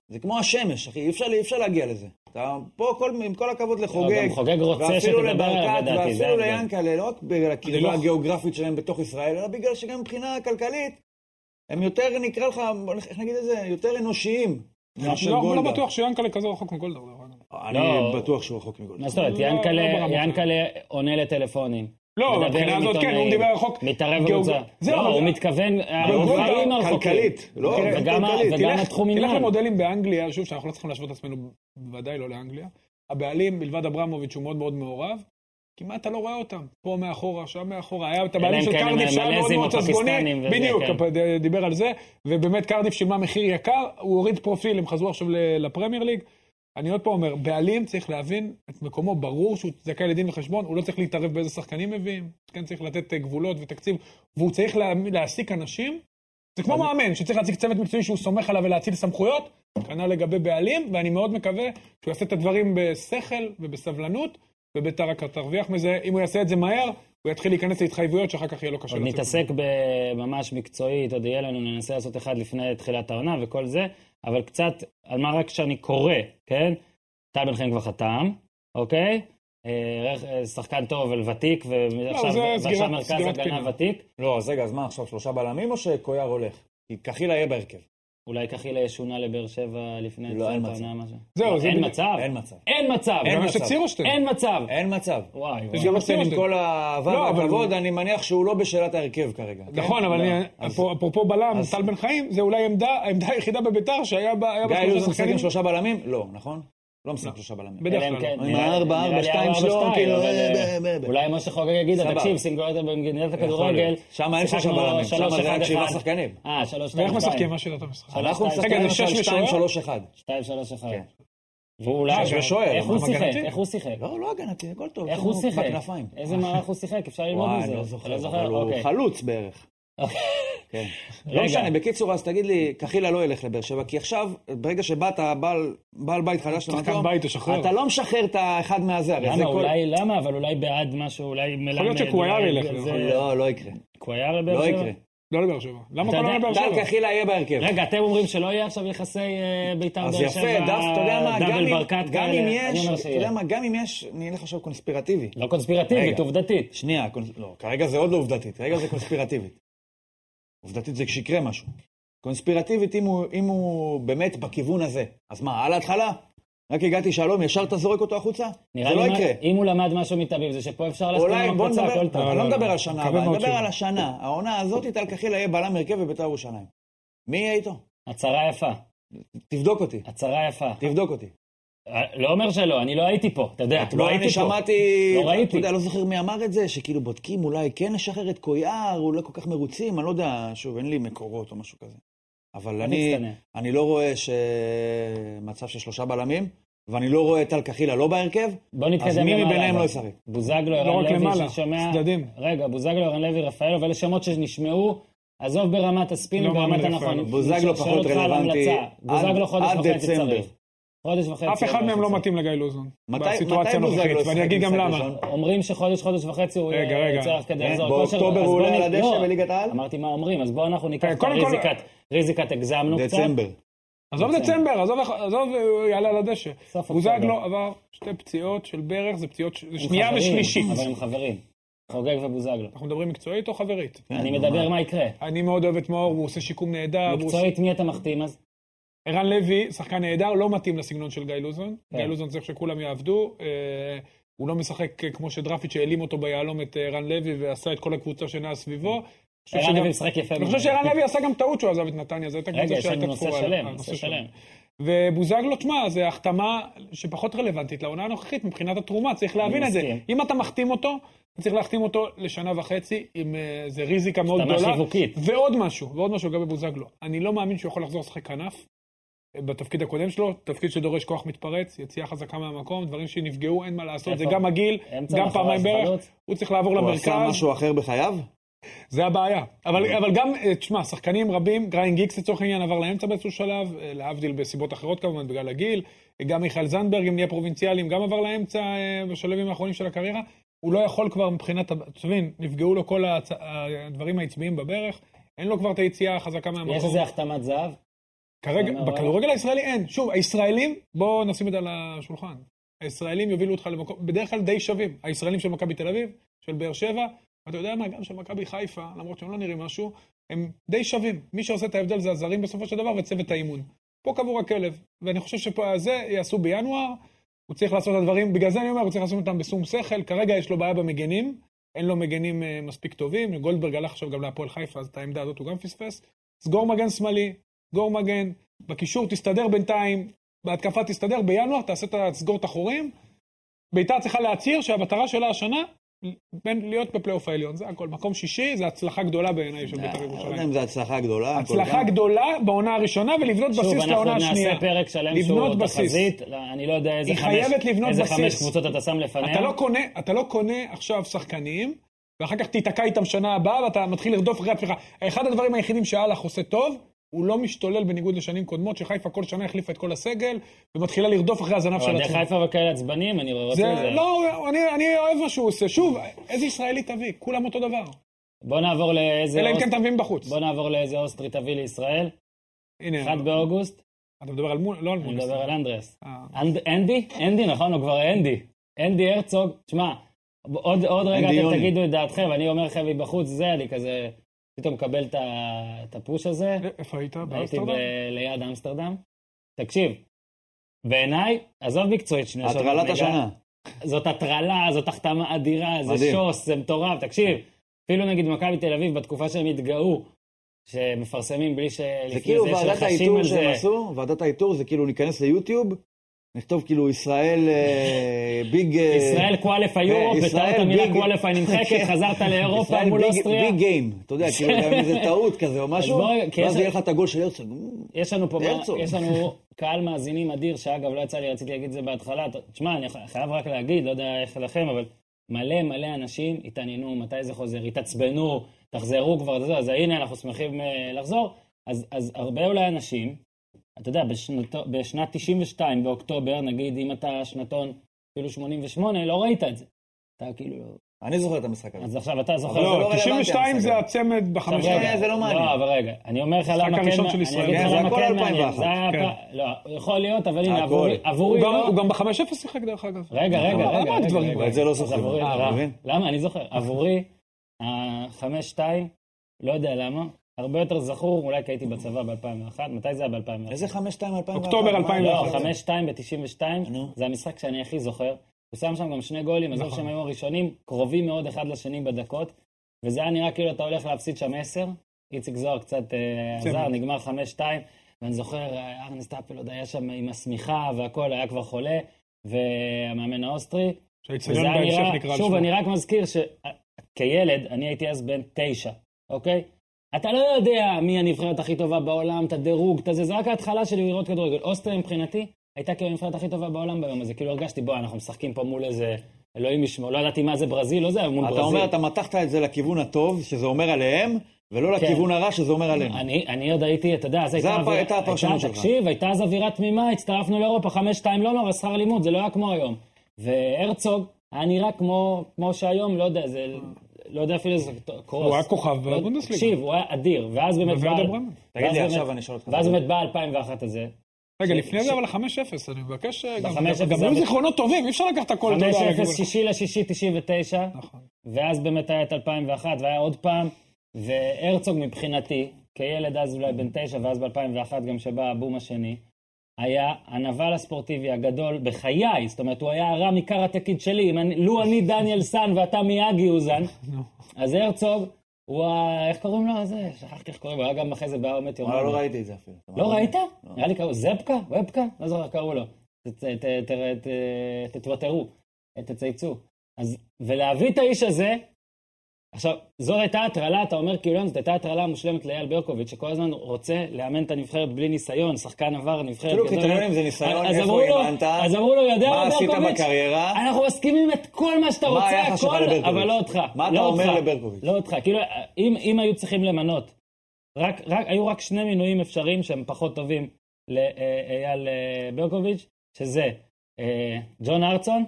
זה כמו השמש, אחי, אי אפשר, אי אפשר להגיע לזה. אתה פה, כל, עם כל הכבוד לחוגג,
לא, גם חוגג רוצה
ואפילו
שתדבר עליו,
לברקת,
לדעתי, זה
ואפילו
ההבדל.
ליענקל'ה, לא רק בגלל הקרבה
לא-
הגיאוגרפית שלהם בתוך ישראל, אלא בגלל שגם מבחינה כלכלית, הם יותר, נקרא לך, איך נגיד את זה, יותר אנושיים. מאשר
לא, הוא לא
גולדהר.
בטוח שיאנקל'ה כזה רחוק מגולדהר. לא, לא.
אני
לא.
בטוח שהוא רחוק מגולדהר.
מה זאת אומרת,
לא, לא
ינקלה-
ברמות.
ינקלה עונה לטלפונים.
לא,
מדבר
מבחינה
עם
הזאת, כן,
עיתונאים,
הוא דיבר רחוק.
מתערב
גיאוג-
בקבוצה.
זהו,
לא,
אבל-
הוא מתכוון,
גולדהר,
הרובעים הרחוקים.
כלכלית, לא,
כן,
גם
וגם ה-
כלכלית.
וגם
תלך-
התחום
תלך
עניין.
למודלים באנגליה, שוב, שאנחנו לא צריכים להשוות את עצמנו, בוודאי לא לאנגליה. הבעלים, מלבד אברמוביץ', שהוא מאוד מאוד מעורב, כמעט אתה לא רואה אותם. פה מאחורה, שם מאחורה. היה את הבעלים
אלא אם
של
כן הם
קרדיף שהיה מאוד
מלזים או
מאוד עצבוני.
פקיסטנים וזה,
בדיוק,
כן.
הפ- דיבר על זה. ובאמת קרדיף שילמה מחיר יקר, הוא הוריד פרופיל, הם חזרו עכשיו ל- לפרמייר ליג. אני עוד פעם אומר, בעלים צריך להבין את מקומו, ברור שהוא זכאי לדין וחשבון, הוא לא צריך להתערב באיזה שחקנים מביאים, כן צריך לתת אה, גבולות ותקציב, והוא צריך לה, להעסיק אנשים. זה כמו מאמן, שצריך להציג צוות מקצועי שהוא סומך עליו ולהציל סמכויות, כנ"ל לגבי בעלים, ואני מאוד מקווה שהוא יעשה את הדברים בשכל ובסבלנות, וביתר רק תרוויח מזה, אם הוא יעשה את זה מהר, הוא יתחיל להיכנס להתחייבויות שאחר כך יהיה לו קשה
עוד
לצאת.
נתעסק ב- ממש מקצועית, עוד יהיה לנו, ננסה לעשות אחד לפני תחילת העונה וכל זה, אבל קצת על מה רק שאני קורא, כן? טל בן חיים כבר חתם, אוקיי? אה, רכ- אה, שחקן טוב אבל ותיק, ועכשיו
לא, זה
ועכשיו
סגירת-
מרכז
סגירת
הגנה
פינה.
ותיק.
לא, אז רגע, אז מה עכשיו, שלושה בלמים או שקויאר הולך? כי קחילה יהיה בהרכב.
אולי כחילה ישונה לבאר שבע לפני
לא, אין
תחילת
מצב.
העונה, משהו.
זהו,
לא,
זה
אין
בדיוק-
מצב.
אין מצב.
אין מצב.
גם
אין לא
יש את
מצב.
סירושטיין.
אין מצב.
אין מצב.
וואי,
יש
וואי.
גם-
סירושטיין, עם
סירושטיין.
כל האהבה
לא, אבל-
והכבוד, אני מניח שהוא לא בשאלת ההרכב כרגע. כן?
נכון, אבל
לא.
אני-
אז
אפרופו- אפרופו בלם,
אז-
טל בן חיים, זה אולי עמדה- העמדה היחידה בביתר שהיה בה היה בה
גיא לוזון משחק
שחקנים.
עם שלושה בלמים? לא, נכון? לא משחק עם שלושה בלמים.
בדרך
אלא אם
כלל. לא.
כן,
עם
נראה-
הארבע,
נראה לי
ארבע, שתיים
ארבע,
שלו,
שתיים,
כאילו,
אבל,
אה, אה, אה, אה.
אולי משה חוגג יגיד,
סבבה.
תקשיב, סינגולטה במדינת הכדורגל.
שם אין שלושה
שיחקנו
בלמים, שם זה רק
3-1-1.
שבעה שחקנים.
אה, שלוש,
כן.
שתיים,
ואיך
שתיים.
משחקים? מה שאלת המשחק?
אנחנו
שתיים,
משחקים
שתיים.
למשל
רגע, זה שש
2-3-1.
שתיים, שלוש, אחד.
כן.
ואולי...
שש
ושוער,
איך הוא
אבל
שיחק?
הגנתי.
איך הוא שיחק?
לא, לא הגנתי, הכל טוב.
איך
הוא
הוא שיחק?
בכנפיים.
איזה מהלך הוא שיחק? אפשר ללמוד
וואי,
מזה.
אני לא
אתה
זוכר, אבל הוא
אוקיי.
חלוץ בערך.
אוקיי.
כן.
רגע.
לא משנה, בקיצור, אז תגיד לי, קחילה לא ילך לבאר שבע, כי עכשיו, ברגע שבאת, בעל- בעל בית חדש
שחקן
למקום,
בית, תשחרר.
לא- אתה לא משחרר את האחד מהזה, הרי זה
למה?
כל...
אולי למה? אבל אולי בעד משהו, אולי מלמד.
להיות שקוויאר
אולי
ילך,
זה-
יכול
לא, לא יקרה.
קוויאר לבאר
לא
שבע?
יקרה.
לא לבאר שבע. למה
אתה
כל
יודע,
העונה באר
טל
שבע?
קחילה יהיה בהרכב.
רגע, אתם אומרים שלא יהיה עכשיו יחסי אה, בית"ר באר
אז
שבע,
יפה, דף, אתה יודע מה, גם
דאבל
אם-
ברקת
גם אם
כאלה? אני
יש,
אומר
אתה יודע
שיהיה.
מה, גם אם יש, אני אלך עכשיו קונספירטיבי.
לא קונספירטיבית,
רגע.
עובדתית.
שנייה, קונס- לא, כרגע זה עוד לא עובדתית, כרגע זה קונספירטיבית. עובדתית זה כשיקרה משהו. קונספירטיבית, אם הוא, אם הוא באמת בכיוון הזה, אז מה, על ההתחלה? רק הגעתי שלום, ישר אתה זורק אותו החוצה?
נראה
זה לא
לי מה-
יקרה.
אם הוא למד משהו מתאביב, זה שפה אפשר לעשות
אולי,
עם
בוא
הקבוצה,
נדבר,
הכל טוב.
אני
לא,
לא
לא,
מדבר
לא.
על שנה,
מקווה
אבל אני
מאוד
מדבר
שלא.
על השנה. העונה הזאת, טל קחילה יהיה בלם הרכב בבית"ר ירושלים. מי יהיה איתו?
הצהרה יפה,
תבדוק אותי,
הצהרה יפה.
תבדוק אותי.
אה, לא אומר שלא, אני לא הייתי פה, אתה יודע, לא
לא,
הייתי
אני
פה.
שמעתי,
לא ראיתי.
אתה יודע, לא זוכר מי אמר את זה, שכאילו בודקים אולי כן לשחרר את קויאר, אולי כל כך מרוצים, אני לא יודע, שוב, אין לי מקורות או משהו כזה. אבל אני,
מצטנע.
אני לא רואה ש... מצב של שלושה בלמים, ואני לא רואה את טל קחילה לא בהרכב,
בוא נתקדם
אז מי
למעלה,
מביניהם
אבל.
לא ישחק?
בוזגלו,
לא
ערן
רק למעלה,
לוי, ששומע...
צדדים.
רגע, בוזגלו, ערן לוי, רפאלוב, אלה שמות שנשמעו, עזוב ברמת הספינים,
לא
ברמת
מאמין
הנכון.
לרפאלוב.
בוזגלו
שואל
פחות
אותך על
רלוונטי.
המלצה. בוזגלו
עד-
חודש
עד
וחצי
דצמבר.
צריך. חודש וחצי.
אף אחד
לא
מהם לא
צריך.
מתאים לגיא לוזון.
מתי-
בסיטואציה
מתי בוזגלו
הנוכחית,
ישחק
ואני אגיד גם
משחק
למה.
ראשון?
אומרים שחודש, חודש וחצי הוא
רגע,
יהיה-
רגע.
יצא כדי
אה,
לחזור
באוקטובר
כושר, אז
הוא
בוא
עולה על
נ-
הדשא
לא,
בליגת העל?
אמרתי מה אומרים, אז בואו אנחנו ניקח
אה,
את
קודם כל-
ריזיקת, ריזיקת הגזמנו קצת.
דצמבר.
עזוב דצמבר, עזוב, עזוב, אה, הוא יעלה על הדשא.
סוף
בוזגלו
אוקטובר.
עבר שתי פציעות של ברך, זה פציעות, ש- זה
עם
שנייה
חברים,
ושלישית.
אבל הם חברים. חוגג ובוזגלו.
אנחנו מדברים מקצועית או חברית?
כן,
אני מדבר מה יקרה.
אני מאוד אוהב את מאור, הוא עושה שיקום נהדר. הוא עושה-
מקצועית מי אתה מחתים אז?
ערן לוי, שחקן נהדר, לא מתאים לסגנון של גיא לוזון.
כן.
גיא לוזון צריך שכולם יעבדו. אה, הוא לא משחק אה, כמו שדרפיץ' העלים אותו ביהלום את אה, ערן לוי ועשה את כל הקבוצה שנעה סביבו. אני חושב
ערן לוי
שגם-
משחק יפה.
אני חושב שערן לוי עשה גם טעות שהוא עזב את נתניה, זו הייתה
רגע,
קבוצה
יש לנו
שהייתה
נושא
תפורה.
שלם,
אה,
נושא
נושא
שלם.
ובוזגלו, תשמע, זו החתמה שפחות רלוונטית לעונה הנוכחית מבחינת התרומה, צריך להבין
אני
את זה.
מסכים.
אם אתה מחתים אותו, אתה צריך להחתים אותו לשנה וחצי, עם איזה ריזיקה מאוד
החתמה
גדולה.
שיווקית.
ועוד משהו, ועוד משהו לגבי בוזגלו. אני לא מאמין שהוא יכול לחזור לשחק כנף אה, בתפקיד הקודם שלו, תפקיד שדורש כוח מתפרץ, יציאה חזקה מהמקום, דברים שנפגעו, אין מה לעשות, זה
איפה?
גם הגיל,
אמצע,
גם
מאחורי,
פעמיים ברך,
חלוץ.
הוא צריך לעבור
הוא עשה
למרכז.
משהו אחר בחייו?
זה הבעיה. אבל, אבל גם, אה, תשמע, שחקנים רבים, גריינג גיקס לצורך העניין עבר לאמצע באיזשהו שלב, אה, להבדיל בסיבות אחרות כמובן, בגלל הגיל, אה, גם מיכאל זנדברג, אם נהיה פרובינציאלים, גם עבר לאמצע אה, בשלבים האחרונים של הקריירה. הוא לא יכול כבר מבחינת, הב- אתה מבין, נפגעו לו כל הצ... הדברים העצביים בברך, אין לו כבר את היציאה החזקה מהמקום.
יש איזה החתמת זהב?
כרגע,
אתה אומר,
בכדורגל הישראלי אין. שוב, הישראלים, בואו נשים את זה על השולחן. הישראלים יובילו אותך למקום, בדרך כלל די שווים. הישראלים של מכבי תל אביב, של באר שבע, ואתה יודע מה, גם של מכבי חיפה, למרות שהם לא נראים משהו, הם די שווים. מי שעושה את ההבדל זה הזרים בסופו של דבר וצוות האימון. פה קבור הכלב, ואני חושב שפה זה יעשו בינואר, הוא צריך לעשות את הדברים, בגלל זה אני אומר, הוא צריך לעשות אותם בשום שכל, כרגע יש לו בעיה במגנים, אין לו מגנים אה, מספיק טובים, גולדברג הלך עכשיו גם להפועל חיפה, אז את העמדה הזאת הוא גם פספס. סגור מגן שמאלי, סגור מגן, בקישור תסתדר בינתיים, בהתקפה תסתדר, בינואר תעשה את ה- תסגור את החורים. ביתר צריכה להצהיר שהמטרה שלה השנה, בין להיות בפלייאוף העליון, זה הכל. מקום שישי, זה הצלחה גדולה בעיניי של
אה,
בית"ר
לא יודע
ירושלים.
אם זו הצלחה גדולה. כל
הצלחה
כך.
גדולה בעונה הראשונה ולבנות
שוב,
בסיס
אנחנו
לעונה השנייה.
נעשה פרק שלם
לבנות
שהוא
בסיס.
תחזית, לא, אני לא יודע איזה
היא
חמש-
חייבת לבנות
איזה
בסיס.
חמש קבוצות אתה שם לפניה.
אתה לא קונה, אתה לא קונה עכשיו שחקנים, ואחר כך תיתקע איתם שנה הבאה, ואתה מתחיל לרדוף אחרי עצמך. אחד הדברים היחידים שאלאך עושה טוב, הוא לא משתולל בניגוד לשנים קודמות, שחיפה כל שנה החליפה את כל הסגל, ומתחילה לרדוף אחרי הזנב של
אוהדי
עצמה.
חיפה וכאלה עצבנים, אני רואה את
זה
זה.
לא, אני, אני אוהב מה שהוא עושה. שוב, איזה ישראלי תביא? כולם אותו דבר.
בוא נעבור לאיזה
אלא אם
אוסט-
כן תביאים בחוץ.
בוא נעבור לאיזה אוסטרי תביא לישראל.
הנה,
כן.
1 באוגוסט,
אתה מדבר על מול, לא על
אני
מול.
מדבר על אנדרס.
אה.
אנד- אנדי? אנדי, נכון, הוא כבר אנדי. אנדי הרצוג, תשמע, עוד עוד רגע
אנדי
אתם
יוני.
תגידו את דעתכם, אני אומר לכם מבחוץ, זה, אני כזה... פתאום מקבל את ה- את הפוש הזה.
כן,
איפה היית?
לא הייתי
באמסטרדם?
ב- ליד אמסטרדם. תקשיב, בעיניי, עזוב מקצועית שנייה. של
הטרלת
הליגה,
השנה.
זאת הטרלה, זאת החתמה אדירה, זה
מדהים. כן.
שוס, זה מטורף. תקשיב, אפילו נגיד מכבי תל אביב, בתקופה שהם התגאו, שמפרסמים בלי
זה
שלפני
כאילו
זה יש
ועדת
לחשים
האיתור
על זה.
שהם עשו, ועדת האיתור זה כאילו ניכנס ליוטיוב, נכתוב כאילו ישראל אה, ביג... אה,
ישראל קואליפה יורופ,
ישראל
בטעות המילה
ביג- כן.
קואליפה נמחקת, חזרת לאירופה
ישראל
מול
ביג-
אוסטריה.
ביג גיים, אתה יודע, כאילו גם איזה טעות כזה או משהו,
בוא, כי
ואז
יש-
יהיה לך את הגול של Mm, הרצוג.
יש לנו פה,
הרצוג.
יש לנו קהל מאזינים אדיר, שאגב, לא יצא לי, רציתי להגיד את זה בהתחלה. ת- תשמע, אני ח- חייב רק להגיד, לא יודע איך לכם, אבל מלא מלא אנשים התעניינו, מתי זה חוזר, התעצבנו, תחזרו כבר, זה, זה, אז הנה, אנחנו שמחים אה, לחזור. אז, אז הרבה אולי אנשים, אתה יודע, בשנת, בשנת 92, באוקטובר, נגיד, אם אתה שנתון אפילו 88, לא ראית את זה. אתה כאילו...
אני זוכר את המשחק הזה.
אז עכשיו אתה זוכר...
אבל
זה
לא,
לא רלוונטי,
92 זה
המשחק.
הצמד
עכשיו,
בחמש...
רגע,
זה לא מעניין.
לא, אבל רגע, אני אומר לך למה
המשחק
כן,
הראשון של
אני
ישראל.
אגיד לך
כן, זה
למה
הכל
כן
2001.
מעניין. זה היה
כן.
הפ- לא, יכול להיות, אבל הנה,
הכל.
עבורי- עבורי
הוא גם-
לא...
הוא גם ב-5-0 שיחק דרך אגב.
רגע, רגע,
הוא
רגע,
אמר
רגע,
דברים,
רגע.
אבל את זה לא זוכר.
עבורי,
אה,
למה?
אתה מבין?
למה? אני זוכר. עבורי, החמש-שתיים, לא יודע למה, הרבה יותר זכור, אולי כי הייתי בצבא ב-2001, מתי זה היה ב-2001?
איזה 5-2 2001?
אוקטובר
לא,
2001.
5-2 ב-92,
נו.
זה המשחק שאני הכי זוכר. הוא שם שם גם שני גולים, עזוב שהם היו הראשונים, קרובים מאוד אחד לשני בדקות, וזה היה נראה כאילו אתה הולך להפסיד שם 10. איציק זוהר קצת אה,
צמד.
עזר, נגמר 5-2, ואני זוכר, אה, ארנס טאפל עוד היה שם עם השמיכה והכל, היה כבר חולה, והמאמן האוסטרי,
שהאיצטדיון
וזה היה
בהמשך
נראה,
נקרא על
שוב,
שמו.
אני רק מזכיר שכילד, אני הייתי אז בן תשע, אוקיי? אתה לא יודע מי הנבחרת הכי טובה בעולם, את הדירוג, את זה, זה רק ההתחלה שלי לראות כדורגל. אוסטריה מבחינתי הייתה כאילו הנבחרת הכי טובה בעולם ביום הזה. כאילו הרגשתי, בוא, אנחנו משחקים פה מול איזה, אלוהים ישמעו, לא ידעתי מה זה ברזיל, לא זה, אבל מול ברזיל.
אתה אומר, אתה מתחת את זה לכיוון הטוב, שזה אומר עליהם, ולא
כן.
לכיבון הרע, שזה אומר עלינו.
אני, אני עוד הייתי, אתה יודע, אז הייתה
הפ- הייתה הפרשנות
הייתה-
שלך.
תקשיב, הייתה אז אווירה תמימה, הצטרפנו לאירופה, חמש-שתיים לא נורא, שכר לימוד, זה לא היה כמו היום. והרצוג היה נראה כמו, כמו שהיום, לא יודע, זה, לא יודע אפילו איזה קרוס.
הוא היה כוכב
לא-
בבונדסליגה.
תקשיב, הוא היה אדיר, ואז באמת...
בוורדר
בא-
ברמן.
תגיד
ואז
לי
באמת-
עכשיו, אני אשאל אותך.
ואז באמת בא 2001 הזה.
רגע,
ש-
לפני
ש-
זה אבל 5-0, אני מבקש... ש- גם-
ב- 5-0
גם
זה-
היו זיכרונות טובים, אי אפשר לקחת הכל. אתה יודע,
5-0,
רגע.
שישי לשישי 99.
נכון.
ואז באמת היה את 2001, והיה עוד פעם, והרצוג מבחינתי, כילד אז אולי בן תשע, ואז ב-2001 גם שבא הבום השני, היה הנבל הספורטיבי הגדול בחיי, זאת אומרת, הוא היה הרע מכר התקיד שלי, אם אני, לו אני דניאל סאן ואתה מיאגי אוזן, אז הרצוג, הוא ה... איך קוראים לו? זה, שכחתי איך קוראים לו, הוא היה גם אחרי זה באומת יום.
וואלה, לא ראיתי את זה אפילו.
לא ראית? נראה לי קראו זפקה? ובקה? לא זוכר איך קראו לו. ת- ת- ת- ת- תתוותרו, תצייצו. אז, ולהביא את האיש הזה, עכשיו, זו הייתה הטרלה, אתה אומר כאילו, זאת הייתה הטרלה המושלמת לאייל ברקוביץ', שכל הזמן רוצה לאמן את הנבחרת בלי ניסיון, שחקן עבר נבחרת
אפילו
גדול.
כאילו, קריטריונים זה ניסיון,
אז
איפה
אמרו לו-
אימנת,
אז אמרו לו, יודע
מה עשית
ברקוביץ',
בקריירה?"
אנחנו מסכימים את כל מה שאתה
מה
רוצה,
היחס שלך
הכל,
לברקוביץ'?
אבל לא אותך.
מה אתה
לא
אומר
אותך,
לברקוביץ'?
לא אותך, כאילו, אם אם היו צריכים למנות רק, רק, היו רק שני מינויים אפשריים שהם פחות טובים לאייל אה, ברקוביץ', שזה אה, ג'ון ארצון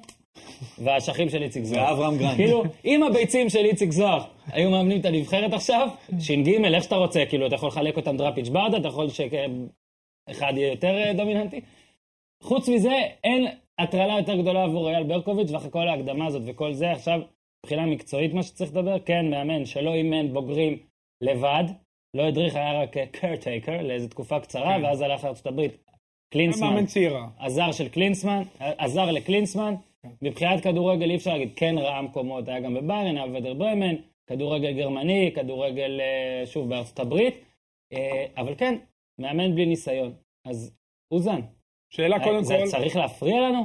והאשכים של איציק זוהר.
ואברהם גרנד.
כאילו, אם הביצים של איציק זוהר היו מאמנים את הנבחרת עכשיו, ש"ג, איך שאתה רוצה, כאילו, אתה יכול לחלק אותם דראפיץ' ברדה, אתה יכול שאחד יהיה יותר אה, דומיננטי. חוץ מזה, אין הטרלה יותר גדולה עבור אייל ברקוביץ', ואחרי כל ההקדמה הזאת וכל זה, עכשיו, מבחינה מקצועית מה שצריך לדבר, כן, מאמן שלא אימן בוגרים לבד, לא הדריך, היה רק קרטייקר לאיזו תקופה קצרה,
כן.
ואז הלך לארצות הברית.
היה
קלינסמן,
מאמן צעירה.
עזר של קלינסמן, עזר לקלינסמן.
כן.
מבחינת כדורגל אי אפשר להגיד, כן ראה מקומות, היה גם בביירן, היה בוודר ברמן, כדורגל גרמני, כדורגל, אה, שוב, בארצות הברית. אה, אבל כן, מאמן בלי ניסיון. אז אוזן,
שאלה אה, קודם
זה
כל...
צריך להפריע לנו?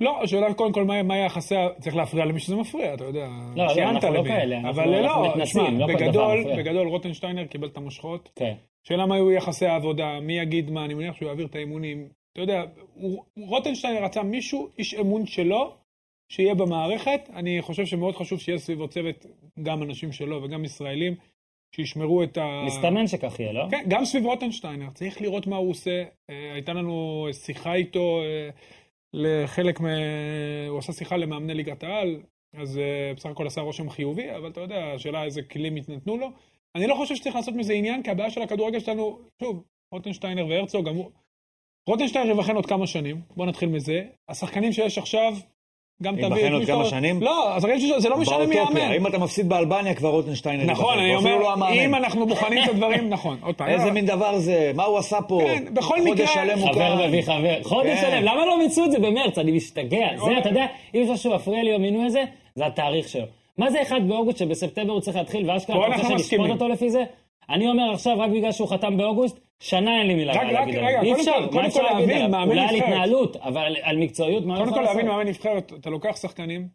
לא, השאלה קודם כל, מה מה יחסי ה... צריך להפריע למי שזה מפריע, אתה יודע.
לא, לא,
ציינת
אנחנו לא
למי.
כאלה, אנחנו-
אבל
אנחנו
לא,
מתנשאים,
תשמע,
לא כל דבר
בגדול,
מפריע.
בגדול רוטנשטיינר קיבל את המושכות.
כן.
שאלה מה יהיו יחסי העבודה, מי יגיד מה, אני מניח שהוא יעביר את האימונים. אתה יודע, הוא- רוטנשטיינר רצה מישהו, איש אמון שלו, שיהיה במערכת. אני חושב שמאוד חשוב שיהיה סביבו צוות, גם אנשים שלו וגם ישראלים, שישמרו את ה...
אה. מסתמן שכך יהיה, לא?
כן, גם סביב רוטנשטיינר, צריך לראות מה הוא עושה. אה, הייתה לנו שיחה איתו, אה, לחלק מ... הוא עשה שיחה למאמני ליגת העל, אז אה, בסך הכל עשה רושם חיובי, אבל אתה יודע, השאלה איזה כלים יתנתנו לו. אני לא חושב שצריך לעשות מזה עניין, כי הבעיה של הכדורגל שלנו, שוב, רוטנשטיינר והרצוג, גם הוא... רוטנשטיינר יבחן עוד כמה שנים, בואו נתחיל מזה. השחקנים שיש עכשיו, גם
אם
תביא... את
בחריין
מי
עוד
שאתה
כמה
רוצה.
שנים?
לא, אז רגע שזה לא משנה מי
באוטופיה.
יאמן.
אם אתה מפסיד באלבניה, כבר רוטנשטיין... נגד
נכון,
בחריין.
אני
הוא אפילו
אומר,
לא המאמן.
אם אנחנו בוחנים את הדברים, נכון, עוד פעם.
אה, איזה
לא,
מין דבר זה? מה הוא עשה פה?
כן, בכל מקרה-
חודש שלם הוא
חבר
כאן.
מביא חבר. חודש
כן.
שלם, למה לא מיצו את זה במרץ? אני משתגע.
אוקיי.
זה, אתה יודע, אם משהו מפריע לי במינוי הזה, זה התאריך שלו. מה זה 1 באוגוסט שבספטמבר הוא צריך להתחיל,
פה
ואשכרה אתה
אנחנו
רוצה שנשפוט
מסכימים.
אותו לפי זה? אני אומר עכשיו, רק בגלל שהוא חתם באוגוסט, שנה אין לי מילה
רק-
רעה
רק-
להגיד
רגע,
עליו. אי
קודם
אפשר,
כל-
מה
קודם
אפשר
כל
להגיד
להבין,
עליו?
מאמן
אולי על
נבחרת.
התנהלות, אבל על- על מקצועיות, מה
קודם
אפשר
כל
לעשות?
להבין מאמן נבחרת, אתה לוקח שחקנים,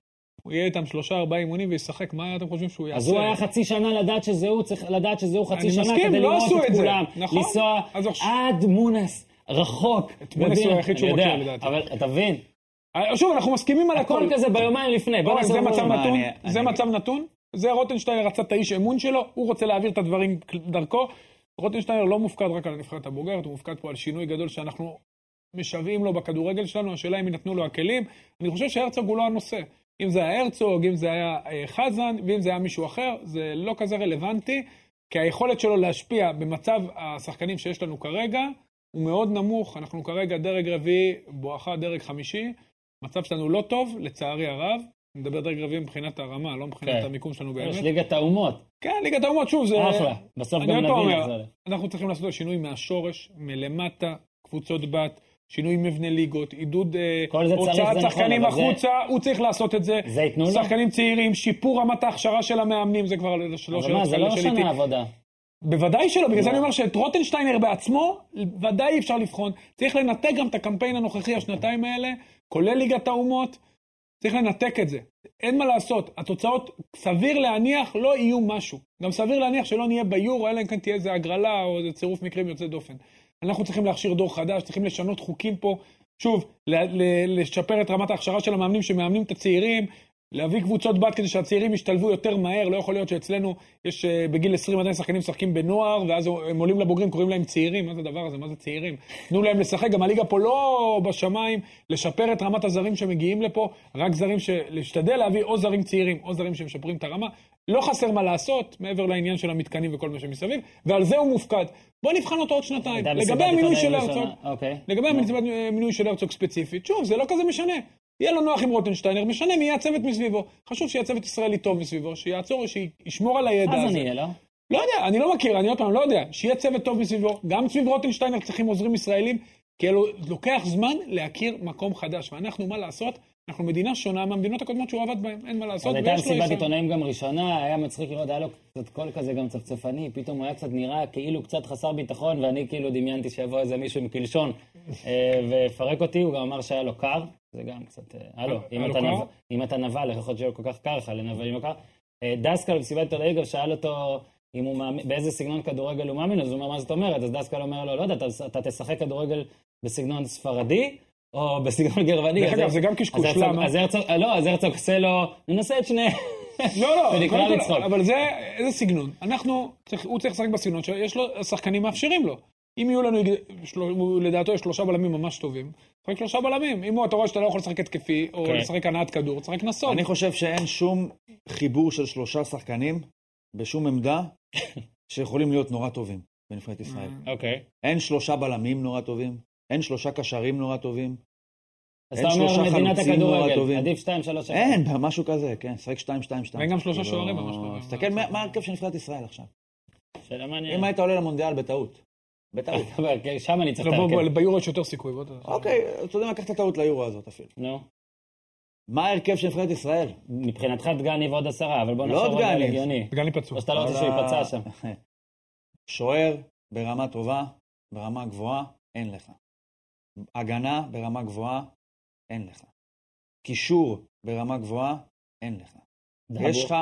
הוא יהיה איתם שלושה ארבעה אימונים וישחק, מה אתם חושבים שהוא יעשה?
אז הוא היה חצי שנה לדעת שזה הוא, צריך לדעת שזה הוא חצי
אה, אני
שנה
מסכים,
כדי
לא
לראות
עשו
את
את זה.
כולם.
נכון.
לנסוע
אז עכשיו-
עד מונס, רחוק.
מונס הוא
מבין?
היחיד שהוא
אני יודע,
מכיר, לדעתי.
אבל אתה מבין,
אה, שוב, אנחנו מסכימים על
הכל
הכל.
כזה ביומיים לפני. בוא
אורן,
נעשה
זה מצב
מה,
נתון,
אני-
זה
אני-
מצב נתון, זה רוטנשטיינר רצה את האיש אמון שלו, הוא רוצה להעביר את הדברים דרכו. רוטנשטיינר לא מופקד רק על הנבחרת הבוגרת, הוא מופקד פה על שינוי גדול שאנחנו משוועים לו בכדורגל שלנו, השאלה אם יינתנו לו הכלים. אני חושב שהרצוג הוא לא הנושא. אם זה היה הרצוג, אם זה היה אה, חזן, ואם זה היה מישהו אחר, זה לא כזה רלוונטי, כי היכולת שלו להשפיע במצב השחקנים שיש לנו כרגע, הוא מאוד נמוך, אנחנו כרגע דרג רביעי, בואכה דרג חמישי, המצב שלנו לא טוב, לצערי הרב. אני מדבר דרג רביעי מבחינת הרמה, לא מבחינת
כן.
המיקום שלנו
יש
באמת.
ליגת האומות,
כן, ליגת האומות, שוב, זה...
אחלה. בסוף
אני
גם
עוד פעם
נבין
אומר,
את זה.
אנחנו צריכים לעשות שינוי מהשורש, מלמטה, קבוצות בת, שינוי מבנה ליגות, עידוד אה,
כל זה צריך,
הוצאת
זה נכון,
שחקנים
אבל זה-
החוצה, הוא צריך לעשות את זה.
זה ייתנו לו?
שחקנים צעירים, שיפור רמת ההכשרה של המאמנים, זה כבר לא שאלות
אבל מה, זה
כאלה
לא
של איתי.
שנה עבודה.
בוודאי שלא, בגלל זה אני אומר שאת רוטנשטיינר בעצמו, ודאי אי אפשר לבחון. צריך לנתק גם את הקמפיין הנוכחי, השנתיים האלה, כולל ליגת האומות, צריך לנתק את זה. אין מה לעשות, התוצאות, סביר להניח, לא יהיו משהו. גם סביר להניח שלא נהיה ביורו, אלא אם כן תהיה איזה הגרלה או איזה צירוף מקרים יוצא דופן. אנחנו צריכים להכשיר דור חדש, צריכים לשנות חוקים פה. שוב, ל- ל- לשפר את רמת ההכשרה של המאמנים שמאמנים את הצעירים, להביא קבוצות בת כדי שהצעירים ישתלבו יותר מהר, לא יכול להיות שאצלנו יש אה, בגיל 20 עדיין שחקנים משחקים בנוער, ואז הם עולים לבוגרים, קוראים להם צעירים, מה זה הדבר הזה, מה זה צעירים? תנו להם לשחק, גם הליגה פה לא בשמיים, לשפר את רמת הזרים שמגיעים לפה, רק זרים, ש- להשתדל להביא או זרים צעירים, או זרים שמשפרים את הרמה. לא חסר מה לעשות, מעבר לעניין של המתקנים וכל מה שמסביב, ועל זה הוא מופקד. בוא נבחן אותו עוד שנתיים.
הייתה מסיבת
לגבי המינוי
עיתונאים
של
ראשונה.
הרצוג,
אוקיי.
לגבי המסיבת מינוי של הרצוג ספציפית, שוב, זה לא כזה משנה. יהיה לו נוח עם רוטנשטיינר, משנה מי יהיה הצוות מסביבו. חשוב שיהיה צוות ישראלי טוב מסביבו, שיעצור, שישמור על הידע
אז
הזה.
אני אהיה, לא?
לא יודע, אני לא מכיר, אני עוד פעם לא יודע. שיהיה צוות טוב מסביבו. גם סביב רוטנשטיינר צריכים עוזרים ישראלים, כי אלו- לוקח זמן להכיר מקום חדש. ואנחנו, מה לעשות? אנחנו מדינה שונה מהמדינות הקודמות שהוא עבד בהן, אין מה לעשות.
אז הייתה
ויש לו
מסיבת
ישראל.
עיתונאים גם ראשונה, היה מצחיק לראות, היה לו קצת קול כזה גם צפצפני, פתאום הוא היה קצת נראה כאילו קצת חסר ביטחון, ואני כאילו דמיינתי שיבוא איזה מישהו עם קלשון אה, ויפרק אותי, הוא גם אמר שהיה לו קר, זה גם קצת... אה, הלו,
היה
אם
לו
אתה
קר?
נבל- אם אתה נבל, איך יכול להיות שיהיה לו כל כך קר לך לנבל אם לא קר? אה, דסקל במסיבת עיתונאים גם שאל אותו... אם הוא מאמין, באיזה סגנון כדורגל הוא מאמין, אז הוא אומר, מה זאת אומרת? אז דסקל אומר לו, לא יודע, אתה, אתה תשחק כדורגל בסגנון ספרדי, או בסגנון גרמני?
דרך
אז
אגב,
הרצוג-
זה גם
אז
קשקוש,
הרצוג-
למה?
אז הרצוג, אה, לא, אז הרצוג עושה לו, ננסה את שני...
לא, לא,
ונקרא
קודם כל,
לצחוק.
אבל זה, איזה סגנון? אנחנו, צריך, הוא צריך לשחק בסגנון שיש לו, שחקנים מאפשרים לו. אם יהיו לנו, של- הוא- לדעתו יש שלושה בלמים ממש טובים, שחק שלושה בלמים. אם הוא, אתה רואה שאתה לא יכול לשחק התקפי, או
כן.
לשחק הנעת כדור, תשחק נסוג.
אני חושב שאין שום חיבור של שלושה שחקנים בשום עמדה שיכולים להיות נורא טובים בנבחרת ישראל.
אה.
אוקיי.
אין שלושה בלמים נורא טובים, אין שלושה קשרים נורא טובים.
אז
אין
אתה אומר
שלושה
מדינת
חלוצים נורא
הכדורגל,
טובים.
עדיף 2, 3,
אה.
1.
אין, משהו כזה, כן, שחק 2-2-2.
ואין גם שלושה
כאילו,
שוערים ממש טובים.
תסתכל מה- מה ההרכב של נבחרת ישראל עכשיו.
שאלה
אה.
מעניינת.
אם היית עולה למונדיאל בטעות. בטעות.
אבל כן, שם אני צריך
לא, בוא,
להרכב.
בוא, ביורו יש יותר סיכוי. בוא, אתה-
אוקיי, אתה יודע מה, לקחת טעות ליורו הזאת אפילו.
נו.
מה ההרכב של נבחרת ישראל?
מבחינתך דגני ועוד עשרה, אבל בוא
לא
נחשוב רגע על
דגני.
הגיוני.
וגם לי פצוע.
או שאתה לא רוצה שהוא
אבל ה-
ייפצע שם.
שוער ברמה טובה, ברמה גבוהה, אין לך. הגנה ברמה גבוהה, אין לך. קישור ברמה גבוהה, אין לך. יש לך,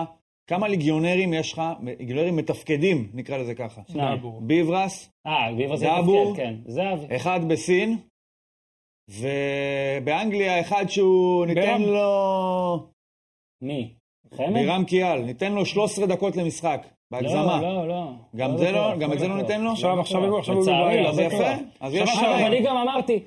כמה ליגיונרים יש לך, ליגיונרים מתפקדים, נקרא לזה ככה.
שניים.
דאבור.
ביברס,
אה, ביבר זה
דאבור.
תפקיד, כן. זהבי.
אחד בסין, ובאנגליה אחד שהוא, ניתן
בירם.
לו...
מי? חמד?
בירם קיאל, ניתן לו 13 דקות למשחק, בהגזמה.
לא, לא, לא.
גם זה לא-
בטוח,
גם את זה לא
בטוח.
ניתן לו?
עכשיו, עכשיו
בטוח.
הוא- עכשיו הוא
לצערי,
בבעיה,
לא
זה
בטוח.
יפה, אז יש
עכשיו, אבל
שניים.
אני גם אמרתי,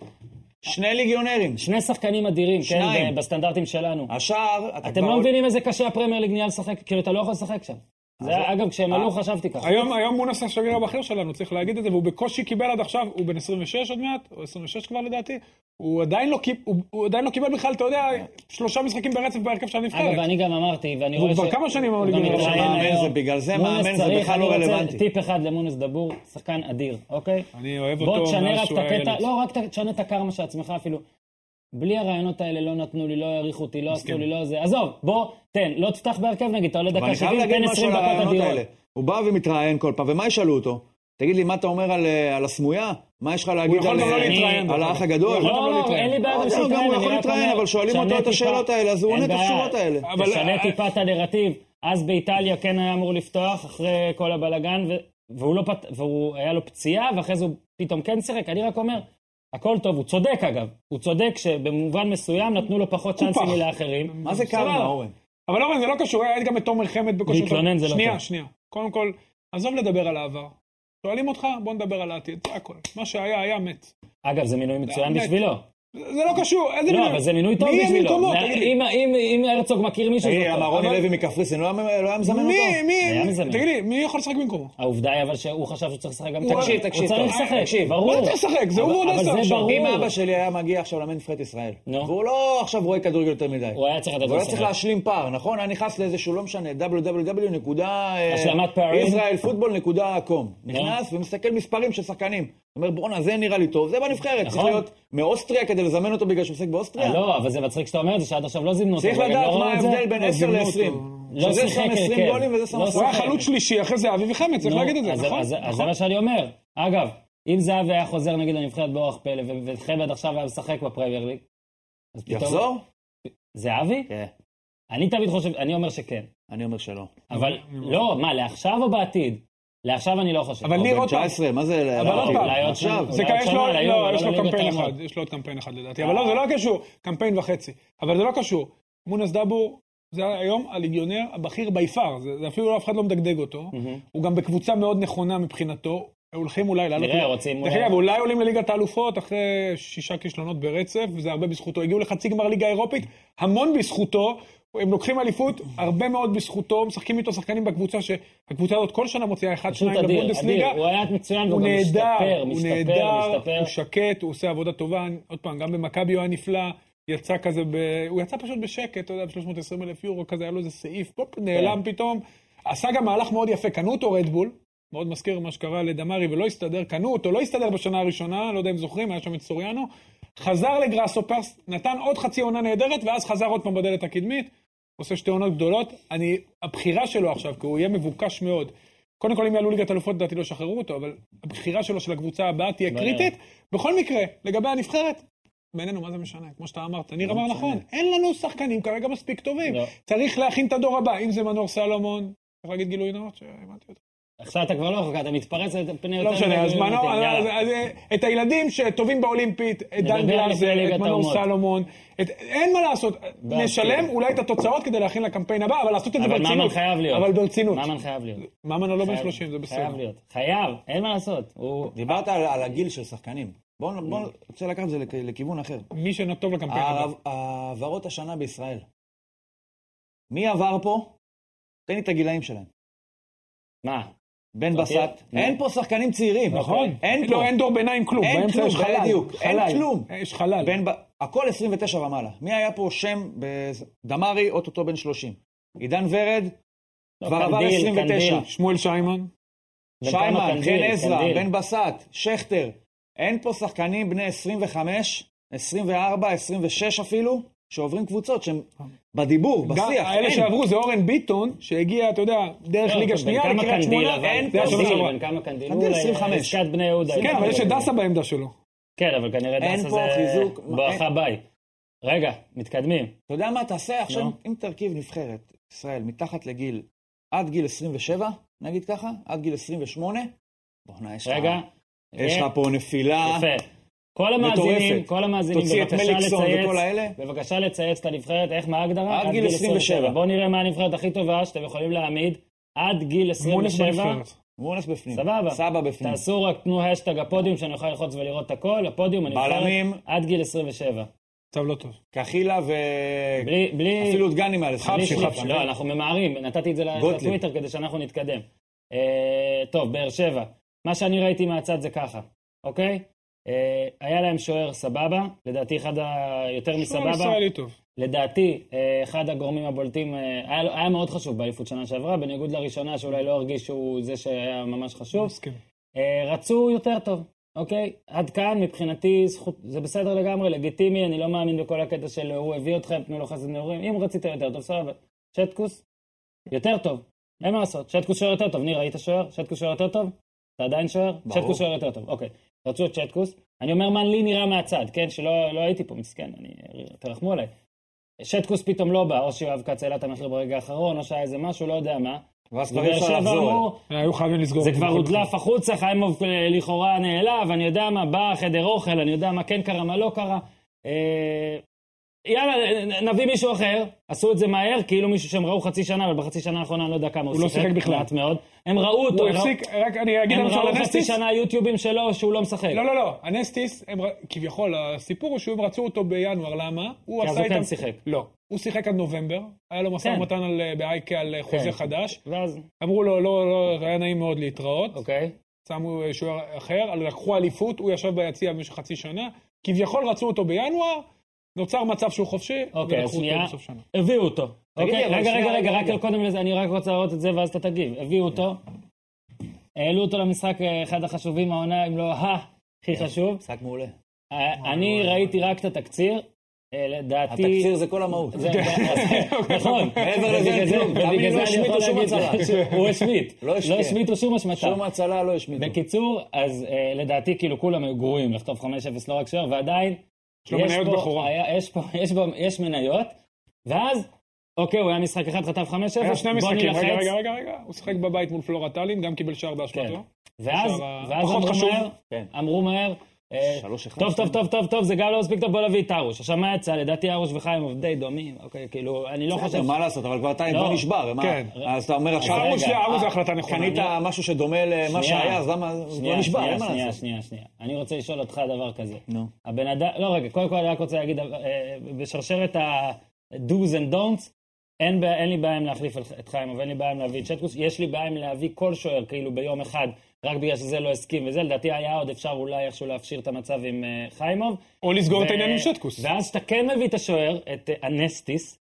שני ליגיונרים.
שני שחקנים אדירים, כן,
שניים. אה,
בסטנדרטים שלנו.
השאר, אתה
אתם
כבר
לא
עוד-
מבינים איזה קשה הפרמייר ליג נהיה לשחק, כאילו אתה לא יכול לשחק שם. זה, אגב, כשהם
אה,
עלו חשבתי ככה.
היום, היום מונס השגריר הבכיר שלנו, צריך להגיד את זה, והוא בקושי קיבל עד עכשיו, הוא בן 26 עוד מעט, או 26 כבר לדעתי, הוא עדיין לא, קיב, הוא, הוא עדיין לא קיבל בכלל, אתה יודע,
אה.
שלושה משחקים ברצף בהרכב של הנבחרת.
כן. אגב, אני גם אמרתי, ואני
הוא
רואה
כבר כמה שנים
הוא
בליגה
גם
הראשונה.
מתראיין
מאמן
היום.
זה- בגלל זה
מונס
מאמן זה
צריך,
בכלל לא
אני רוצה
רלוונטי.
טיפ אחד למונס דבור, שחקן אדיר, אוקיי?
אני אוהב
בוא
אותו
תשנה
מאז
רק
שהוא
את
היה ילד.
הקטע, לא, רק ת- תשנה את הקרמה של עצמך אפילו. בלי הרעיונות האלה לא נתנו לי, לא העריכו אותי, לא עשו
מסכים.
לי, לא זה. עזוב, בוא, תן, לא תפתח בהרכב נגיד, אתה עולה
אבל
דקה
אני חייב
70,
להגיד
תן
משהו
20
על
דקות
הרעיונות
אדירות.
האלה. הוא בא ומתראיין כל פעם, ומה ישאלו אותו? תגיד לי, מה אתה אומר על, אה, על הסמויה? מה יש לך להגיד
יכול
על,
גם לא
אה,
להתראיין,
על
דרך
האח
אגב.
הגדול?
יכול
לא,
אבל
לא,
להתראיין.
אין לי בעיה גם
לא,
שיתראיין,
גם הוא
אני
יכול
רק
להתראיין,
אומר,
אבל שואלים אותו
שנה
את השאלות
טיפה-
האלה, אז הוא
אין
עונה את
בעיה.
התשובות האלה. אה,
אבל-
תשנה טיפה את הנרטיב. אז באיטליה כן היה אמור לפתוח אחרי כל הבלגן, ו- והוא לא פת... והוא היה לו פציעה, ואחרי זה הוא פתאום כן שיחק. אני רק אומר, הכל טוב, הוא צודק אגב. הוא צודק שבמובן מסוים נתנו לו פחות צ'אנסים
פח.
מלאחרים.
מה זה
סבבה.
קרמה, אורן?
אבל אורן, זה לא קשור, היה גם את תומר חמד בקושי.
להתלונן זה לא
שנייה,
טוב.
שנייה. קודם כל, עזוב לדבר על העבר. שואלים אותך, בוא נדבר על העתיד, זה הכל. מה שהיה, היה מת.
אגב, זה מינוי מצוין
באמת.
בשבילו.
זה זה לא קשור, איזה
לא, אבל זה מינוי טוב
מי יהיה
בשבילו.
במקומו,
מה-
תגיד לי?
אם- אם אם הרצוג מכיר מישהו... זה
תגיד,
טוב.
למה רוני
אבל-
אה, לוי מקפריסין לא היה לא היה מזמן אותו?
מי,
היה
מי,
מזמן.
תגיד לי, מי יכול לשחק במקומו?
העובדה היא אבל שהוא חשב שהוא צריך לשחק גם...
הוא-
תקשיב,
תקשיב,
הוא צריך
טוב. אה,
לשחק,
תקשיב.
ברור.
מה אתה משחק? זה הוא
אבל-
ועוד
אבל
עשר
זה
עכשיו.
ברור.
אם אבא שלי היה מגיע עכשיו לאמן נבחרת ישראל,
נו.
והוא לא עכשיו רואה כדורגל יותר מדי,
הוא היה צריך לדעת
והוא היה
לשחק.
צריך להשלים פער, נכון? היה נכנס לאיזשהו, לא משנה, www. נקודה, אה,
השלמת פערים.
ישראל פוטבול נקודה קום. נכנס ומסתכל מספרים של שחקנים. אומר, בואנה, זה נראה לי טוב, זה בנבחרת. צריך
נכון.
להיות מאוסטריה כדי לזמן אותו בגלל שהוא משחק באוסטריה?
לא, אבל זה מצחיק שאתה אומר את זה, שעד עכשיו לא זימנו אותו.
צריך
וגם לא
לדעת
ראו
מה
את זה.
ההבדל בין
לא
10
זימנו
ל-20.
אותו. לא
שזה
שיחק
שם 20
הרכב.
גולים וזה שם
לא
10.
הוא היה
שחק.
אה, חלוץ שלישי, אחרי זה אביבי חמד, צריך
נו,
להגיד את זה,
אז-
נכון?
אז אז זה
נכון.
מה שאני אומר. אגב, אם זהבי היה חוזר נגיד לנבחרת באורח פלא, ו- וחמד עכשיו היה משחק בפרמייר ליג, אז פתאום...
יחזור?
זהבי?
כן.
אני תמיד חושב, אני אומר שכן.
אני אומר שלא.
אבל לא, מה, לעכשיו או בעתיד? לעכשיו אני לא חושב.
אבל
הוא
ניר
בן
עוד פעם.
19, מה זה?
אבל עוד פעם.
אולי עוד
עכשיו.
שנה.
זה
אולי
כאן,
עוד
יש לו,
שנה,
לא,
היום,
יש
אבל
לו
לא
קמפיין
ליגת העל.
אחד, יש לו עוד קמפיין אחד לדעתי, אבל לא, זה לא קשור, קמפיין וחצי. אבל זה לא קשור. מונס דאבור, זה היום הליגיונר הבכיר בי פאר, זה זה אפילו אף אחד לא מדגדג אותו.
Mm.
הוא גם בקבוצה מאוד נכונה מבחינתו. הולכים אולי לעלות...
נראה, רוצים
דרך
אולי-
אגב, אולי עולים לליגת האלופות אחרי שישה כישלונות ברצף, וזה הרבה בזכותו. הגיעו לחצי גמר ליגה אירופית, המון בזכותו. הם לוקחים אליפות,
אוקיי.
הרבה מאוד בזכותו, משחקים איתו שחקנים בקבוצה, שהקבוצה הזאת כל שנה מוציאה אחד,
פשוט
שניים
אדיר, אדיר.
לבונדסליגה.
הוא היה מצוין,
הוא
והוא גם
נהדר,
משתפר,
הוא
משתפר,
נהדר, הוא
משתפר.
שקט, הוא עושה עבודה טובה. אני- עוד פעם, גם במכבי הוא היה נפלא, יצא כזה, ב... הוא יצא פשוט בשקט, אתה יודע, ב-320 אלף יורו, כזה, היה לו איזה סעיף, פופ,
כן.
נעלם פתאום. עשה גם מהלך מאוד יפה, קנו אותו רדבול, מאוד מזכיר מה שקרה לדמרי ולא הסתדר, קנו אותו, לא הסתדר בשנה הראשונה, לא יודע אם זוכרים, היה שם את סוריאנו. חזר לגראסו פרס, נתן עוד חצי עונה נהדרת, ואז חזר עוד פעם בדלת הקדמית. עושה שתי עונות גדולות. אני, הבחירה שלו עכשיו, כי הוא יהיה מבוקש מאוד. קודם כל, אם יעלו ליגת אלופות, לדעתי לא ישחררו אותו, אבל הבחירה שלו של הקבוצה הבאה תהיה
לא
קריטית. בכל מקרה, לגבי הנבחרת, בעינינו מה זה משנה? כמו שאתה אמרת, ניר אמר נכון, אין לנו שחקנים כרגע מספיק טובים.
לא.
צריך להכין את הדור הבא, אם זה מנור סלומון, צריך להגיד גילוי נאות, שהבנתי אותו.
עכשיו אתה כבר לא רחוק, אתה מתפרץ, אתה פני יותר...
לא משנה, אז
מגלגלים
מנור,
אותי, יאללה.
אז- אז, אה, את הילדים שטובים באולימפית, את
נדבר
דן
לפני
גלאזר,
ליגת
את מנור
האומות.
סלומון, את- אין מה לעשות, נשלם
כן.
אולי את התוצאות כדי להכין לקמפיין הבא, אבל לעשות את זה
אבל
ברצינות.
ממן חייב להיות.
אבל ברצינות.
ממן חייב להיות.
ממן הוא לא בן
חייב-
30, זה בסדר.
חייב להיות. חייב, אין מה לעשות. הוא...
דיברת על על הגיל של שחקנים. בואו, אני רוצה לקחת את זה לכ- לכיוון אחר.
מי שטוב לקמפיין
אה,
הבא.
אוקיי.
העב- העברות השנה בישראל. מי עבר פה? תן לי את הגילאים שלהם.
מה?
בן
אוקיי.
בסט. אין פה שחקנים צעירים.
נכון?
אין פה.
לא, אין דור ביניים כלום.
אין
באמצע
כלום,
יש חלל.
בדיוק. אין
חלל. אה,
כלום.
יש חלל.
בן ב- הכל 29 ומעלה. מי היה פה שם? ב- דמרי, אוטוטו בן 30. עידן ורד,
לא,
כבר עבר
קנדיל,
29.
קנדיל.
שמואל שיימן.
בן כמה
שיימן,
קנדיל,
חן עזרא,
קנדיל.
בן בסט, שכטר. אין פה שחקנים בני 25, 24, 26 אפילו, שעוברים קבוצות שהם בדיבור,
גם
בשיח.
האלה
אין.
שעברו זה אורן ביטון, שהגיע, אתה יודע, דרך
לא,
ליגה
בן
שנייה
כמה
לקריית
קנדיל,
שמונה.
אבל-
אין
קנדיל,
פה שנה שעברה.
בן כמה קנדיל?
קנדיל
אולי
25.
עסקת בני יהודה.
כן, אבל יש את דסה בעמדה שלו.
כן, אבל כנראה
אין
דסה
פה
זה
חיזוק.
בואכה ביי. רגע, מתקדמים.
אתה יודע מה תעשה עכשיו,
נו.
אם תרכיב נבחרת ישראל מתחת לגיל, עד גיל 27, נגיד ככה, עד גיל 28, בואנה, יש לך-
רגע.
יש
אה,
לך פה נפילה.
יפה. כל המאזינים,
מטורפת.
כל המאזינים,
תוציא את
בבקשה
מליקסון
לצייץ,
וכל האלה.
בבקשה לצייץ את הנבחרת, איך, מה ההגדרה?
עד גיל 27.
בואו נראה מה הנבחרת הכי טובה שאתם יכולים להעמיד עד גיל
מונס
27.
בנבחרת.
מונס בפנים.
סבבה.
סבא בפנים.
תעשו רק תנו השטג הפודיום, שאני אוכל ללחוץ ולראות את הכל, הפודיום, הנבחרת,
בלמים.
עד גיל 27.
מצב לא טוב.
קחילה ו...
בלי, בלי...
אפילו דגני מעל
בלי
חפשי,
שליפה.
חפשי.
לא, אנחנו ממהרים, נתתי את זה ל-
גוטליב.
לטוויטר כדי שאנחנו נתקדם. אה, טוב, באר שבע. מה שאני ראיתי מהצד זה ככה, אוקיי? אה, היה להם שוער סבבה, לדעתי אחד היותר
שמע,
מסבבה.
ישראלי לא, טוב.
לדעתי, אה, אחד הגורמים הבולטים, אה, היה, לו- היה מאוד חשוב באליפות שנה שעברה, בניגוד לראשונה שאולי לא הרגיש שהוא זה שהיה ממש חשוב.
מסכים.
אה, רצו יותר טוב, אוקיי? עד כאן מבחינתי זכות, זה בסדר לגמרי, לגיטימי, אני לא מאמין בכל הקטע של הוא הביא אתכם, תנו לו חסד נעורים. אם רצית יותר טוב, סבבה. שטקוס, יותר טוב, אין מה לעשות. שטקוס שוער יותר טוב, ניר, היית שוער? שטקוס שוער יותר טוב? אתה עדיין שוער?
ברור.
שטקוס שוער יותר טוב, אוקיי. רצו את שטקוס. אני אומר מה לי נראה מהצד, כן? שלא לא הייתי פה, מסכן, אני, תרחמו עליי. שטקוס פתאום לא בא, או שיואב כץ העלה את המחיר ברגע האחרון, או שהיה איזה משהו, לא יודע מה.
ואז כבר אי
ובאר
אפשר
שבע
לחזור. אליהם.
אמרו,
אה, היו חייבים לסגור.
זה
את
כבר
בכל
הודלף החוצה, חיימוב אה, לכאורה נעלב, אני יודע מה, בא חדר אוכל, אני יודע מה כן קרה, מה לא קרה. אה, יאללה, נ- נביא מישהו אחר, עשו את זה מהר, כאילו מישהו שהם ראו חצי שנה, אבל בחצי שנה האחרונה אני לא יודע כמה הוא
הוא לא שיחק בכלל.
מעט מאוד. הם ראו אותו,
הוא
הם ראו-
הפסיק, רק אני אגיד
הם
לנו
ראו
שעל
חצי
הנסטיס,
שנה יוטיובים שלו שהוא לא משחק.
לא לא לא, הנסטיס, הם ר- כביכול, הסיפור הוא שהם רצו אותו בינואר, למה? הוא
כי אז
עשה
הוא
איתם,
כן שיחק.
לא, הוא שיחק עד נובמבר, היה לו משא
כן.
ומתן על, אה, באייקה על אה,
כן.
חוזה חדש,
ואז,
אמרו לו לא, לא, היה נעים מאוד להתראות,
אוקיי.
שמו אה, שוער אחר, אבל לקחו אליפות, הוא ישב ביציע במשך חצי שנה, כביכול רצו אותו בינואר, נוצר מצב שהוא חופשי,
אוקיי, אז
ולקחו אותו
שנייה.
לא, בסוף שנה.
הביאו אותו.
תגיד לי,
אוקיי,
אבל
רגע,
שנייה,
רגע, רגע,
רגע,
רק
רגע.
קודם לזה, אני רק רוצה להראות את זה ואז אתה תגיב. הביאו אותו, העלו אותו למשחק, אה, אחד החשובים העונה, אם לא ה... הכי
כן.
חשוב.
משחק מעולה.
אה, אני ראיתי רק את התקציר, אה, לדעתי...
התקציר זה כל המהות.
זה- זה- נכון,
מעבר לזה
ובגלל
אין
זה-
כלום.
ובגלל
תאמין לי,
זה
לא
אני
השמיטו
יכול
שום
להגיד
הצלה.
שהוא השמיט,
לא השמיט.
לא השמיטו שום השמטה.
שום הצלה לא השמיטו.
בקיצור, אז אה, לדעתי כאילו כולם היו גרועים לכתוב 5-0 לא רק שער, ועדיין...
יש לו
יש
מניות
פה-
בכורה.
היה- יש פה- יש בו- יש מניות, ואז, אוקיי, הוא היה משחק אחד, חטף 5-0,
היה שני
בוא
משחקים, אה, רגע,
נילחץ,
רגע, רגע, רגע, הוא שיחק בבית מול פלורה טאלין, גם קיבל שער
כן.
באשמתו.
ואז
שער
ואז
הפחות
אמרו
חשוב.
מהר,
כן.
אמרו מהר, אה,
שלוש אחד.
טוב, טוב, טוב, טוב, טוב, זה גם לא מספיק טוב, בוא נביא את ארוש. עכשיו, מה יצא? לדעתי ארוש וחיים די דומים, אוקיי, כאילו, אני לא חושב...
בסדר, מה לעשות, אבל כבר אתה
לא.
כבר נשבר, ומה?
כן.
אז אתה אומר עכשיו,
רגע,
ארוש
אה,
ארוש זה החלטה נכונה. לא,
קנית משהו שדומה למה
שנייה.
שהיה, אז למה, הוא
שנייה,
כבר נשבר,
שנייה,
לא אין מה
שנייה,
לעשות.
שנייה, שנייה. אני רוצה לשאול אותך דבר כזה.
נו.
הבן אדם, לא רגע, קודם כל אני רק רוצה להגיד, אה, בשרשרת ה-do's and don'ts, אין, בעיה- אין לי בעיה עם להחליף את- את חיים, ואין לי בעיה עם להביא את שטקוס, יש לי בעיה עם להביא כל שוער כאילו ביום אחד, רק בגלל שזה לא הסכים וזה, לדעתי היה עוד אפשר אולי איכשהו להפשיר את המצב עם אה, חיימוב.
או לסגור את
ו-
העניין עם שטקוס.
ואז שאתה כן מביא את השוער, את אה, אנסטיס,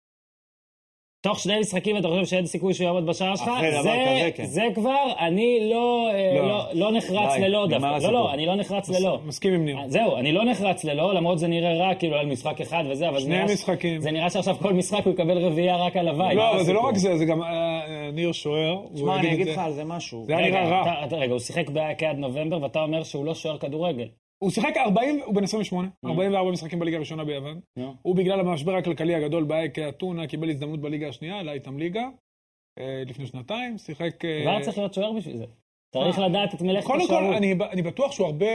תוך שני משחקים אתה חושב שאין סיכוי שהוא יעמוד בשער שלך,
אחרי דבר
זה-
כזה, כן.
זה כבר, אני לא, אה,
לא.
לא- לא נחרץ
די,
ללא
נגמר
דווקא. לא,
הסיפור.
לא, אני לא נחרץ ללא.
מסכים עם ניר.
זהו, אני לא נחרץ ללא, למרות זה נראה רע, כאילו, על משחק אחד וזה, אבל זה
שני
נראה ש-
משחקים.
זה נראה שעכשיו כל משחק הוא יקבל רביעייה רק על הוואי.
לא, אבל זה לא רק זה, זה גם אה, אה, ניר שוער. הוא
שמע,
יגיד
אני
את
אגיד
זה.
לך על זה משהו.
זה היה
רגע,
נראה רע.
אתה- אתה- רגע, הוא שיחק באייקה עד נובמבר, ואתה אומר שהוא לא שוער כדורגל.
הוא שיחק 40, הוא בן 28, 44 משחקים בליגה הראשונה ביוון.
נו.
הוא בגלל המשבר הכלכלי הגדול באייקה אתונה, קיבל הזדמנות בליגה השנייה, עלה איתם ליגה. אה, לפני שנתיים, שיחק... אה,
כבר צריך להיות שוער בשביל זה. צריך לדעת את מלאכת
קודם כל,
השוערות.
אני ב- אני בטוח שהוא הרבה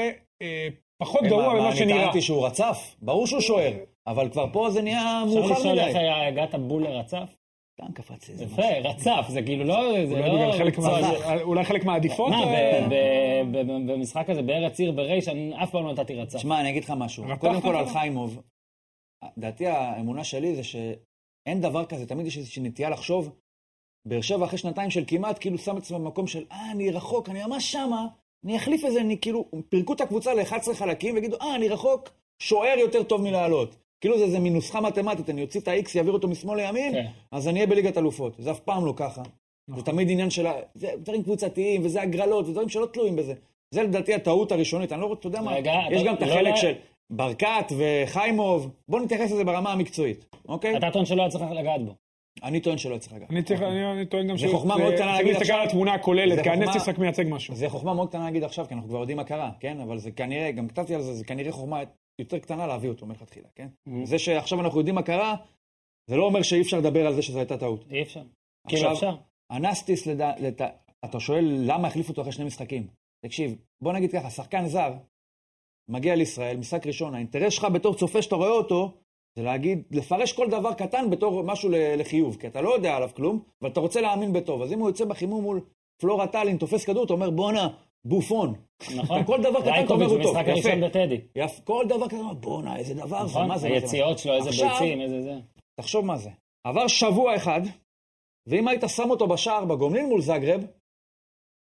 אה, פחות
מה,
גרוע
מה,
ממה
אני
שנראה.
טענתי שהוא רצף, ברור שהוא שוער, אבל כבר פה זה נהיה
אפשר
מאוחר
לשאול איך
מדי.
היה, הגעת בול לרצף?
סתם קפצתי איזה משהו.
יפה, רצף, זה כאילו לא... זה
אולי
לא
בגלל חלק
רצון.
מה- אה, אולי חלק מהעדיפות.
אוקיי.
מה, ב-
אה,
ב- ב- ב- במשחק הזה, בארץ עיר בריש, אני אף פעם לא נתתי רצף.
תשמע, אני אגיד לך משהו.
רתחת
קודם כל
אותו?
על חיימוב, דעתי האמונה שלי זה שאין דבר כזה, תמיד יש איזושהי נטייה לחשוב, באר שבע אחרי שנתיים של כמעט, כאילו שם את עצמם במקום של, אה, אני רחוק, אני ממש שמה, אני אחליף איזה, אני כאילו, פירקו את הקבוצה ל-11 חלקים ויגידו, אה, אני רחוק, שוער יותר טוב מלעלות. כאילו זה איזה מין נוסחה מתמטית, אני אוציא את ה-X, יעביר אותו משמאל לימין,
כן.
אז אני אהיה בליגת אלופות. זה אף פעם לא ככה. זה תמיד עניין של... ה- זה דברים קבוצתיים, וזה הגרלות, ודברים שלא תלויים בזה. זה לדעתי הטעות הראשונית. אני לא רוצה, אתה יודע מה,
רגע,
יש
אתה-
גם את
לא
החלק
לה-
של ברקת וחיימוב. בוא נתייחס לזה ברמה המקצועית, אוקיי?
אתה טוען שלא היה צריך לגעת בו.
אני טוען שלא צריך לגעת.
אני צריך- אני אני טוען גם
זה חוכמה מאוד קטנה
צריך
להגיד
להסתכל
עכשיו.
על התמונה הכוללת,
זה
כי
חוכמה-
הנסיס רק מייצג משהו.
זה חוכמה מאוד קטנה להגיד עכשיו, כי אנחנו כבר יודעים מה קרה, כן? אבל זה כנראה, גם כתבתי על זה, זה כנראה חוכמה יותר קטנה להביא אותו מלכתחילה, כן?
Mm.
זה שעכשיו אנחנו יודעים מה קרה, זה לא אומר שאי אפשר לדבר על זה שזו הייתה טעות.
אי אפשר. כאילו
עכשיו,
אפשר.
אנסטיס, לדע, לת... אתה שואל למה החליף אותו אחרי שני משחקים. תקשיב, בוא נגיד ככה, שחקן זר מגיע לישראל, משחק ראשון, האינטרס שלך בתור צופה שאתה רואה אותו, זה להגיד, לפרש כל דבר קטן בתור משהו ל- לחיוב, כי אתה לא יודע עליו כלום, אבל אתה רוצה להאמין בטוב. אז אם הוא יוצא בחימום מול פלורה טאלין, תופס כדור, אתה אומר, בואנה, בופון.
נכון?
כל דבר קטן אתה אומר
רייקוביץ'
הוא טוב,
במשחק
יפה.
הראשון בטדי.
יפ, כל דבר כזה, בואנה, איזה דבר זה,
נכון?
מה זה? מה זה?"
היציאות שלו, איזה
עכשיו-
ביצים, איזה זה.
תחשוב מה זה. עבר שבוע אחד, ואם היית שם אותו בשער בגומלין מול זגרב,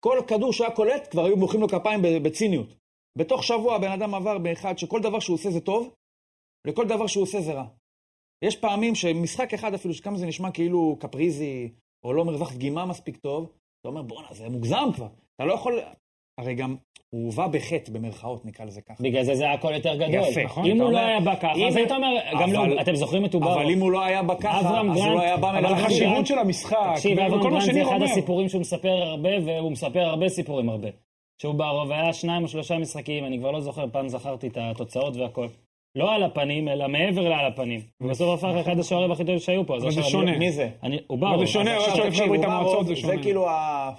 כל כדור שהיה קולט, כבר היו מוחאים לו כפיים ב- בציניות. בתוך שבוע הבן אדם עבר באחד שכל דבר שהוא עושה זה טוב, וכל דבר שהוא עושה זה רע. יש פעמים שמשחק אחד אפילו, שכמה זה נשמע כאילו קפריזי, או לא מרווח דגימה מספיק טוב, אתה אומר, בואנה, זה מוגזם כבר. אתה לא יכול... הרי גם הוא הובא בחטא, במרכאות נקרא לזה ככה.
בגלל זה זה היה הכל יותר גדול.
יפה, נכון,
אם
אתה
הוא לא
אומר-
היה בא ככה, אז
אם-
היית אומר, גם
אבל-
לא, אתם זוכרים את אוברו.
אבל אם הוא לא היה בככה, אז
אברהם
הוא
גרנט-
לא היה בא
אבל
מלאכה
אברהם
שירות.
החשיבות של המשחק,
תקשיב,
וכל
אברהם
מה
גרנט זה
שניר
אחד
אומר.
הסיפורים שהוא מספר הרבה, והוא מספר הרבה סיפורים הרבה. שהוא בהרוויה שניים או שלושה משחקים, אני כבר לא זוכר, פעם זכרתי את התוצאות והכל. לא על הפנים, אלא מעבר לעל הפנים. ובסוף הפך לאחד השוערים הכי טובים שהיו פה. אז
אבל זה
עכשיו אני-
שונה.
מי זה?
אני- הוא
אבל
בא,
זה שונה,
עכשיו,
רק שואל
תקשיב,
חבר'ה ברית
הוא בא
המועצות
רוב,
זה שונה.
זה כאילו ה...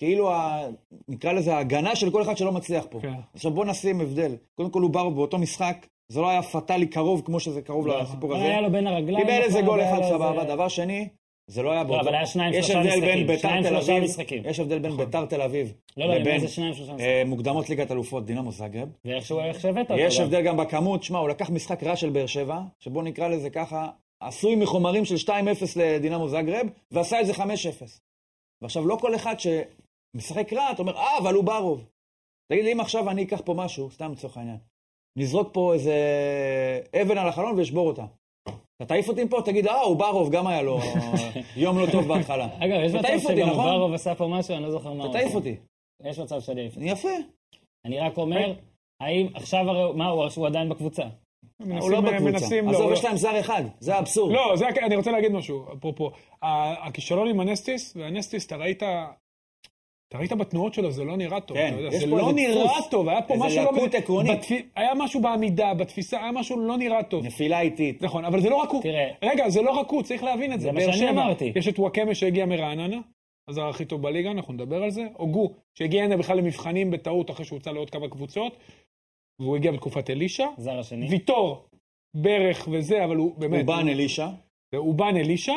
כאילו ה... נקרא לזה ההגנה של כל אחד שלא מצליח פה.
כן.
עכשיו בוא נשים הבדל. קודם כל הוא בא באותו משחק, זה לא היה פטאלי קרוב כמו שזה קרוב לסיפור הזה.
לא, היה לו בין הרגליים.
קיבל איזה
נכון,
גול
היה
אחד
לו
סבבה.
איזה-
דבר שני, זה לא היה באותו...
אבל היה שניים,
יש
שלושה
הבדל
משחקים.
בין ביתר
שניים,
תל
שלושה
אביב-
משחקים. נכון.
יש הבדל בין ביתר תל אביב
לא, לא, אני אומר
לבין
זה שניים, שלושה משחקים.
אה, מוקדמות ליגת אלופות דינמו זאגרב.
ואיכשהו איך שהבאת אותו. לא.
יש
גם.
הבדל גם בכמות, שמע, הוא לקח משחק רע של באר שבע, שבוא נקרא לזה ככה, עשוי מחומרים של 2-0 לדינמו זגרב, ועשה את זה 5-0. ועכשיו, לא כל אחד שמשחק רע, אתה אומר, אה, אבל הוא ברוב. תגיד לי, אם עכשיו אני אקח פה משהו, סתם לצורך העניין, נזרוק פה איזה אבן על החלון ואשבור אותה. אתה תעיף אותי מפה, תגיד, אה, הוא ברוב, גם היה לו יום לא טוב בהתחלה.
אגב, יש
אתה
מצב
תעיף אותי,
שגם
נכון?
אוברוב עשה פה משהו, אני לא זוכר מה
אתה
הוא
תעיף
עשה.
אותי.
יש מצב שאני אעיף אותי.
יפה.
אני רק אומר, האם עכשיו הרי, הוא- מה, הוא הוא עדיין בקבוצה.
הוא לא
מנסים-
אה,
בקבוצה.
מנסים- לא,
עזוב,
לא.
יש להם זר אחד, זה האבסורד.
לא, זה, הק- אני רוצה להגיד משהו, אפרופו. ה- הכישלון עם הנסטיס, והנסטיס, אתה ראית... אתה ראית בתנועות שלו, זה לא נראה טוב.
כן,
אתה יודע,
יש
זה
פה
לא
איזה
נראה
דפוס,
טוב, היה פה
איזה
משהו... לא-
לקות עקרונית.
בתפי- היה משהו בעמידה, בתפיסה, היה משהו לא נראה טוב.
נפילה איטית.
נכון, אבל זה לא רק הוא.
תראה.
רגע, זה לא רק הוא, צריך להבין את זה.
זה מה
באר
שאני
שבע,
אמרתי.
יש את וואקמה שהגיע מרעננה, הזר הכי טוב בליגה, אנחנו נדבר על זה. הוגו, שהגיע הנה בכלל למבחנים בטעות אחרי שהוצא לעוד כמה קבוצות, והוא הגיע בתקופת אלישע.
זר השני.
ויטור, ברך וזה, אבל הוא באמת...
אובן אלישע.
ואובן אלישע,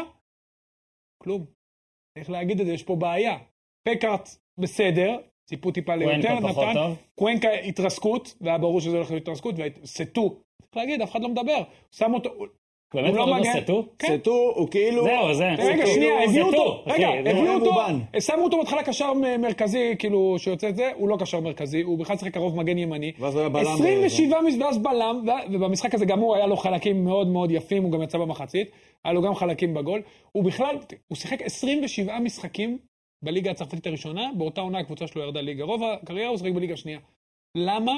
כלום. צריך להגיד את זה, יש פה בעיה. פקארט בסדר, ציפו טיפה ליותר,
קוונקה פחות
נתן.
טוב.
קוונקה התרסקות, והיה ברור שזה הולך להיות התרסקות, וסטו. צריך להגיד, אף אחד לא מדבר. שם אותו... הוא
באמת
לא
קוראים לו
מגן.
סטו?
כן.
סטו הוא כאילו...
זהו, זה.
רגע,
סטו.
שנייה, הביאו
סטו, אחי,
אותו. רגע,
זה- לא
הביאו
הוא
אותו.
מובן.
שמו אותו בהתחלה קשר מ- מרכזי, כאילו, שיוצא את זה, הוא לא קשר מרכזי, הוא בכלל שיחק קרוב מגן ימני.
ואז הוא היה בלם. אה,
27 מש- ואז בלם, ו- ובמשחק הזה גם הוא היה לו חלקים מאוד מאוד יפים, הוא גם יצא במחצית, היה לו גם חלקים בגול. הוא בכלל, הוא שיחק 27 משחקים בליגה הצרפתית הראשונה, באותה עונה הקבוצה שלו ירדה ליגה. רוב הקריירה הוא שיחק בליגה השנייה. למה?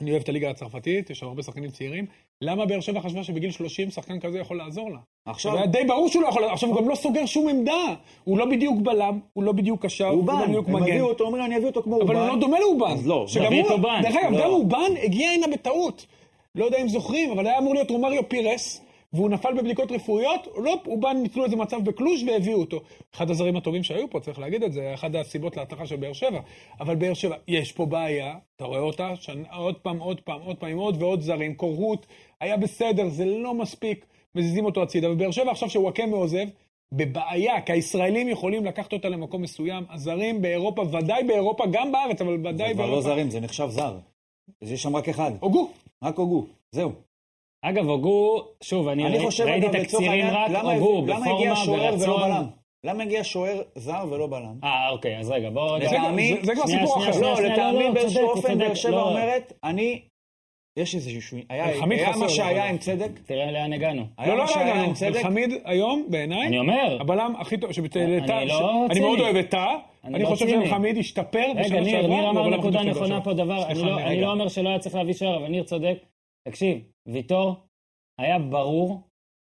אני אוהב את הליגה הצרפתית, יש שם הרבה שחקנים צעירים. למה באר שבע חשבה שבגיל 30 שחקן כזה יכול לעזור לה?
עכשיו,
היה די ברור שהוא לא יכול, עכשיו הוא גם לא סוגר שום עמדה. הוא לא בדיוק בלם, הוא לא בדיוק קשר, הוא לא
אובן.
בדיוק
הם
מגן.
הביאו אותו, אומרים לו, אני אביא אותו כמו אובן.
אבל הוא לא דומה לאובן.
אז לא,
שגם
נביא את
הוא-
אובן.
דרך אגב,
לא.
גם אובן הגיע הנה בטעות. לא יודע אם זוכרים, אבל היה אמור להיות רומריו פירס, והוא נפל בבדיקות רפואיות, לא, אובן ניצלו איזה מצב בקלוש והביאו אותו. אחד הזרים הטובים שהיו פה, צריך להגיד את זה, אחת הסיבות להצלחה של באר שבע. אבל באר שבע, יש פה בעיה, אתה רואה אותה, שנ- עוד פעם, עוד פעם, עוד פעם, עם עוד ועוד זרים, קורות, היה בסדר, זה לא מספיק, מזיזים אותו הצידה. ובאר שבע עכשיו שוואקמה עוזב, בבעיה, כי הישראלים יכולים לקחת אותה למקום מסוים, הזרים באירופה, ודאי באירופה, גם בארץ, אבל
זה
ודאי
כבר לא
באירופה.
זרים, זה נחשב זר. אז יש שם רק אחד,
הוגו.
רק הוגו. זהו.
אגב, הוגו, שוב, אני
אני
ראיתי
חושב,
ראיתי
אגב, לצורך
תקצירים
העניין,
רק,
למה-
הוגו,
למה הגיע
בפורמה,
שוער ולא
ברצון.
בלם? למה הגיע שוער זר ולא בלם?
אה, אוקיי, אז רגע, בואו רגע.
זה גם- לטעמי-
זה- זה כבר
שנייה,
סיפור
שנייה,
אחר.
שנייה.
לא, לטעמי
לא, צודק,
באיזשהו
הוא
אופן
צודק,
באר שבע
לא.
אומרת, אני... יש איזשהו... היה
אלחמיד
היה
חסר
מה
לו
שהיה
בלם.
עם צדק.
תראה לאן הגענו.
היה
לא, לא,
מה
לא,
שהיה
הגענו.
עם צדק.
חמיד היום,
אני
בעיניי,
אומר,
הבלם הכי טוב, שבתא,
אני
לתא-
לא
ש- אני
ציני.
מאוד אוהב את טאה,
אני
אני
לא
חושב
ציני.
שחמיד השתפר
רגע,
בשנה
ניר,
שעברה,
ניר
הוא
אמר
הבלם
לא
הכי
נקודה
טוב של באר
נכונה
שבע.
פה דבר, אני
סליחה,
לא- אני
רגע.
לא אומר שלא היה צריך להביא שוער, אבל ניר צודק. תקשיב, ויטור, היה ברור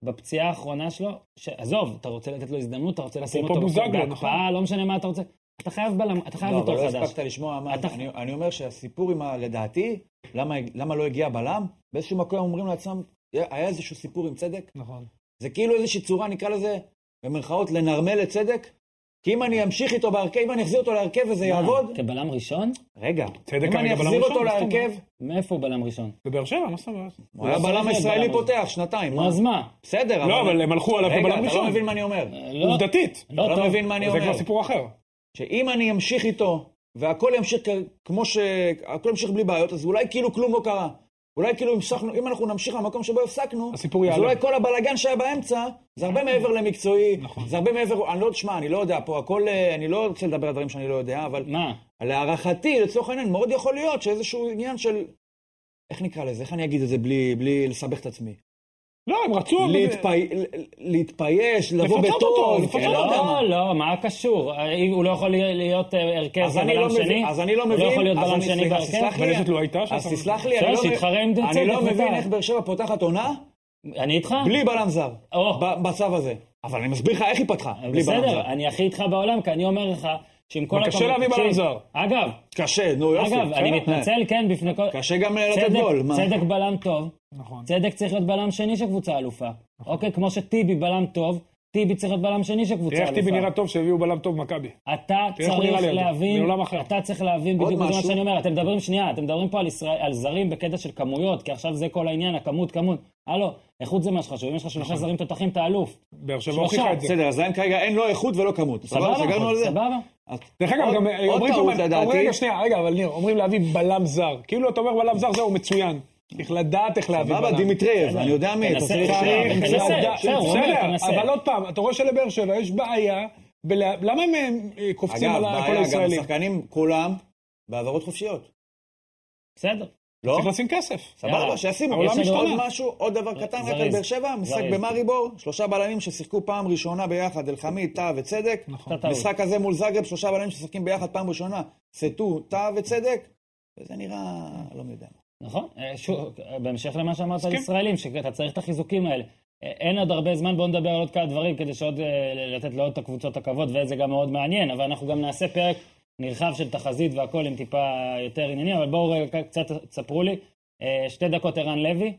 בפציעה האחרונה שלו, שעזוב, אתה רוצה לתת לו הזדמנות, אתה רוצה לשים
אפרופו
אותו
בוזגלו,
בהקפאה, לא משנה מה אתה רוצה. אתה חייב בלם, אתה חייב
נכון? לא, אבל
ויטור
לא
חדש.
הספקת לשמוע מה...
אתה-
אני- אני אומר שהסיפור עם ה... לדעתי, למה- למה לא הגיע בלם? באיזשהו מקום אומרים לעצמם, היה איזשהו סיפור עם צדק?
נכון.
זה כאילו איזושהי צורה, נקרא לזה, במרכאות, לנרמל לצדק. כי אם אני אמשיך איתו בהרכב, אם אני אחזיר אותו להרכב וזה יעבוד,
מה, כבלם ראשון?
רגע,
צדק
אם אני
כרגע בלם
אחזיר
ראשון,
אותו
מה זאת
להרכב,
מאיפה הוא בלם ראשון?
בבאר שבע, מה זאת אומרת?
הוא היה
לא צריך
בלם
להיות
ישראלי
בלם ראשון.
פותח שנתיים.
נו,
מה?
אז מה?
בסדר,
לא, אבל הם הלכו עליו
רגע,
כבלם
אתה לא
ראשון.
מבין מה אני אומר.
לא,
עובדתית.
לא
אתה לא
טוב.
מבין מה אני
זה כבר
אומר.
סיפור אחר.
שאם אני אמשיך איתו והכל ימשיך כ- כמו ש... הכל ימשיך בלי בעיות, אז אולי כאילו כלום לא קרה. אולי כאילו המשכנו, אם אנחנו נמשיך למקום שבו הפסקנו,
הסיפור
אז
יעלה.
אולי כל הבלגן שהיה באמצע, זה הרבה מעבר למקצועי,
נכון.
זה הרבה מעבר, אני לא, תשמע, אני לא יודע פה, הכל, אה, אני לא רוצה לדבר על דברים שאני לא יודע, אבל
מה?
להערכתי, לצורך העניין, מאוד יכול להיות שאיזשהו עניין של... איך נקרא לזה? איך אני אגיד את זה בלי, בלי לסבך את עצמי?
לא, הם רצו... אבל-
להתפי... ל- להתבייש, לבוא
לפצות אותו,
בטוב.
לפצות
כן, לא יודע מה.
לא, לא, מה קשור? אה, אם הוא לא יכול להיות אה, הרכב
אז אני לא
בלם
מבין,
שני?
אז אני לא
הוא
מבין,
לא יכול להיות
אז
בלם
אני-
שני
סליחה,
בהרכב?
תסלח לי,
בלשת לא הייתה שם.
אז תסלח לי, אני
בסדר,
לא מבין-
שיתחרה עם
אני
צדק,
לא מבין
בוודאי.
איך באר שבע פותחת עונה
אני איתך?
בלי בלם זר,
או.
ב- בצו הזה. אבל אני מסביר לך איך היא פתחה, בלי בלם
בסדר,
זר.
אני הכי איתך בעולם, כי אני אומר לך שעם כל
אבל קשה להביא בלם
תקשיב,
זר.
אגב,
קשה, נו יופי.
אגב, אני
בסדר.
מתנצל, כן, בפני כל...
קשה גם אה, לתת
צדק-
גול. מה?
צדק בלם טוב.
נכון.
צדק צריך להיות בלם שני של קבוצה אלופה. אוקיי, כמו שטיבי בלם טוב, טיבי צריך להיות בלם שני של
תראה
קבוצה
איך טיבי נראה
אלופה.
טוב שהביאו בלם טוב מכבי.
אתה
תראה איך הוא נראה
צריך
לידו,
להבין,
מעולם אחר.
אתה צריך להבין
עוד
בדיוק זה מה
משהו?
שאני אומר. אתם מדברים, שנייה, אתם מדברים פה על ישראל- על זרים בקטע של כמויות, כי עכשיו זה כל העניין, הכמות, כמות. הלו, איכות זה מה שחשוב. אם יש לך שלושה זרים תותחים, אתה אלוף.
באר שבע
שלושה,
הוכיחה את זה.
בסדר, אז להם כרגע אין לא איכות ולא כמות.
סבבה?
סבבה, סגרנו על זה?
סבבה?
אז-
דרך אגב,
עוד-
גם אה,
עוד
אומרים,
טעות
אומרים-
לדעתי.
רגע, שנייה, רגע, אבל ניר, אומרים להביא בלם זר. כאילו אתה אומר בלם זר, זהו, מצוין. צריך לדעת איך להביא
סבבה,
בלם.
דימיטרייב, אני יודע מי. אתה
תנסה,
צריך-
תנסה,
צריך,
תנסה,
זה העובדה-
בסדר, הוא אומר, תנסה.
בסדר, אבל עוד פעם, אתה רואה שלבאר שבע יש בעיה, בלה- למה הם אה, קופצים
אגב,
על הכל
בעיה, גם
הישראלי?
השחקנים כולם בהעברות חופשיות.
בסדר.
לא?
צריך לשים כסף.
יאללה.
סבבה, שישימו.
העולם
יש לנו עוד
השתנה.
משהו, עוד דבר קטן, רק על
זריז.
באר שבע, משחק
זריז.
במאריבור, שלושה בלמים ששיחקו פעם ראשונה ביחד, אלחמיד, טאה וצדק.
נכון.
אתה טעות.
משחק הזה מול זאגרב, שלושה בלמים ששחקים ביחד פעם ראשונה, סטו, טאה וצדק, וזה נראה, לא יודע.
נכון, אה, שוב, אה, בהמשך למה שאמרת על
מסכים.
ישראלים, שאתה צריך את החיזוקים האלה. אה, אין עוד הרבה זמן, בואו נדבר על עוד כמה דברים כדי שעוד אה, לתת לעוד את הקבוצות הכבוד, וזה גם מאוד מעניין, אבל אנחנו גם נעשה פרק נרחב של תחזית והכל עם טיפה יותר עניינים, אבל בואו רגע קצת תספרו לי. אה, שתי דקות ערן לוי,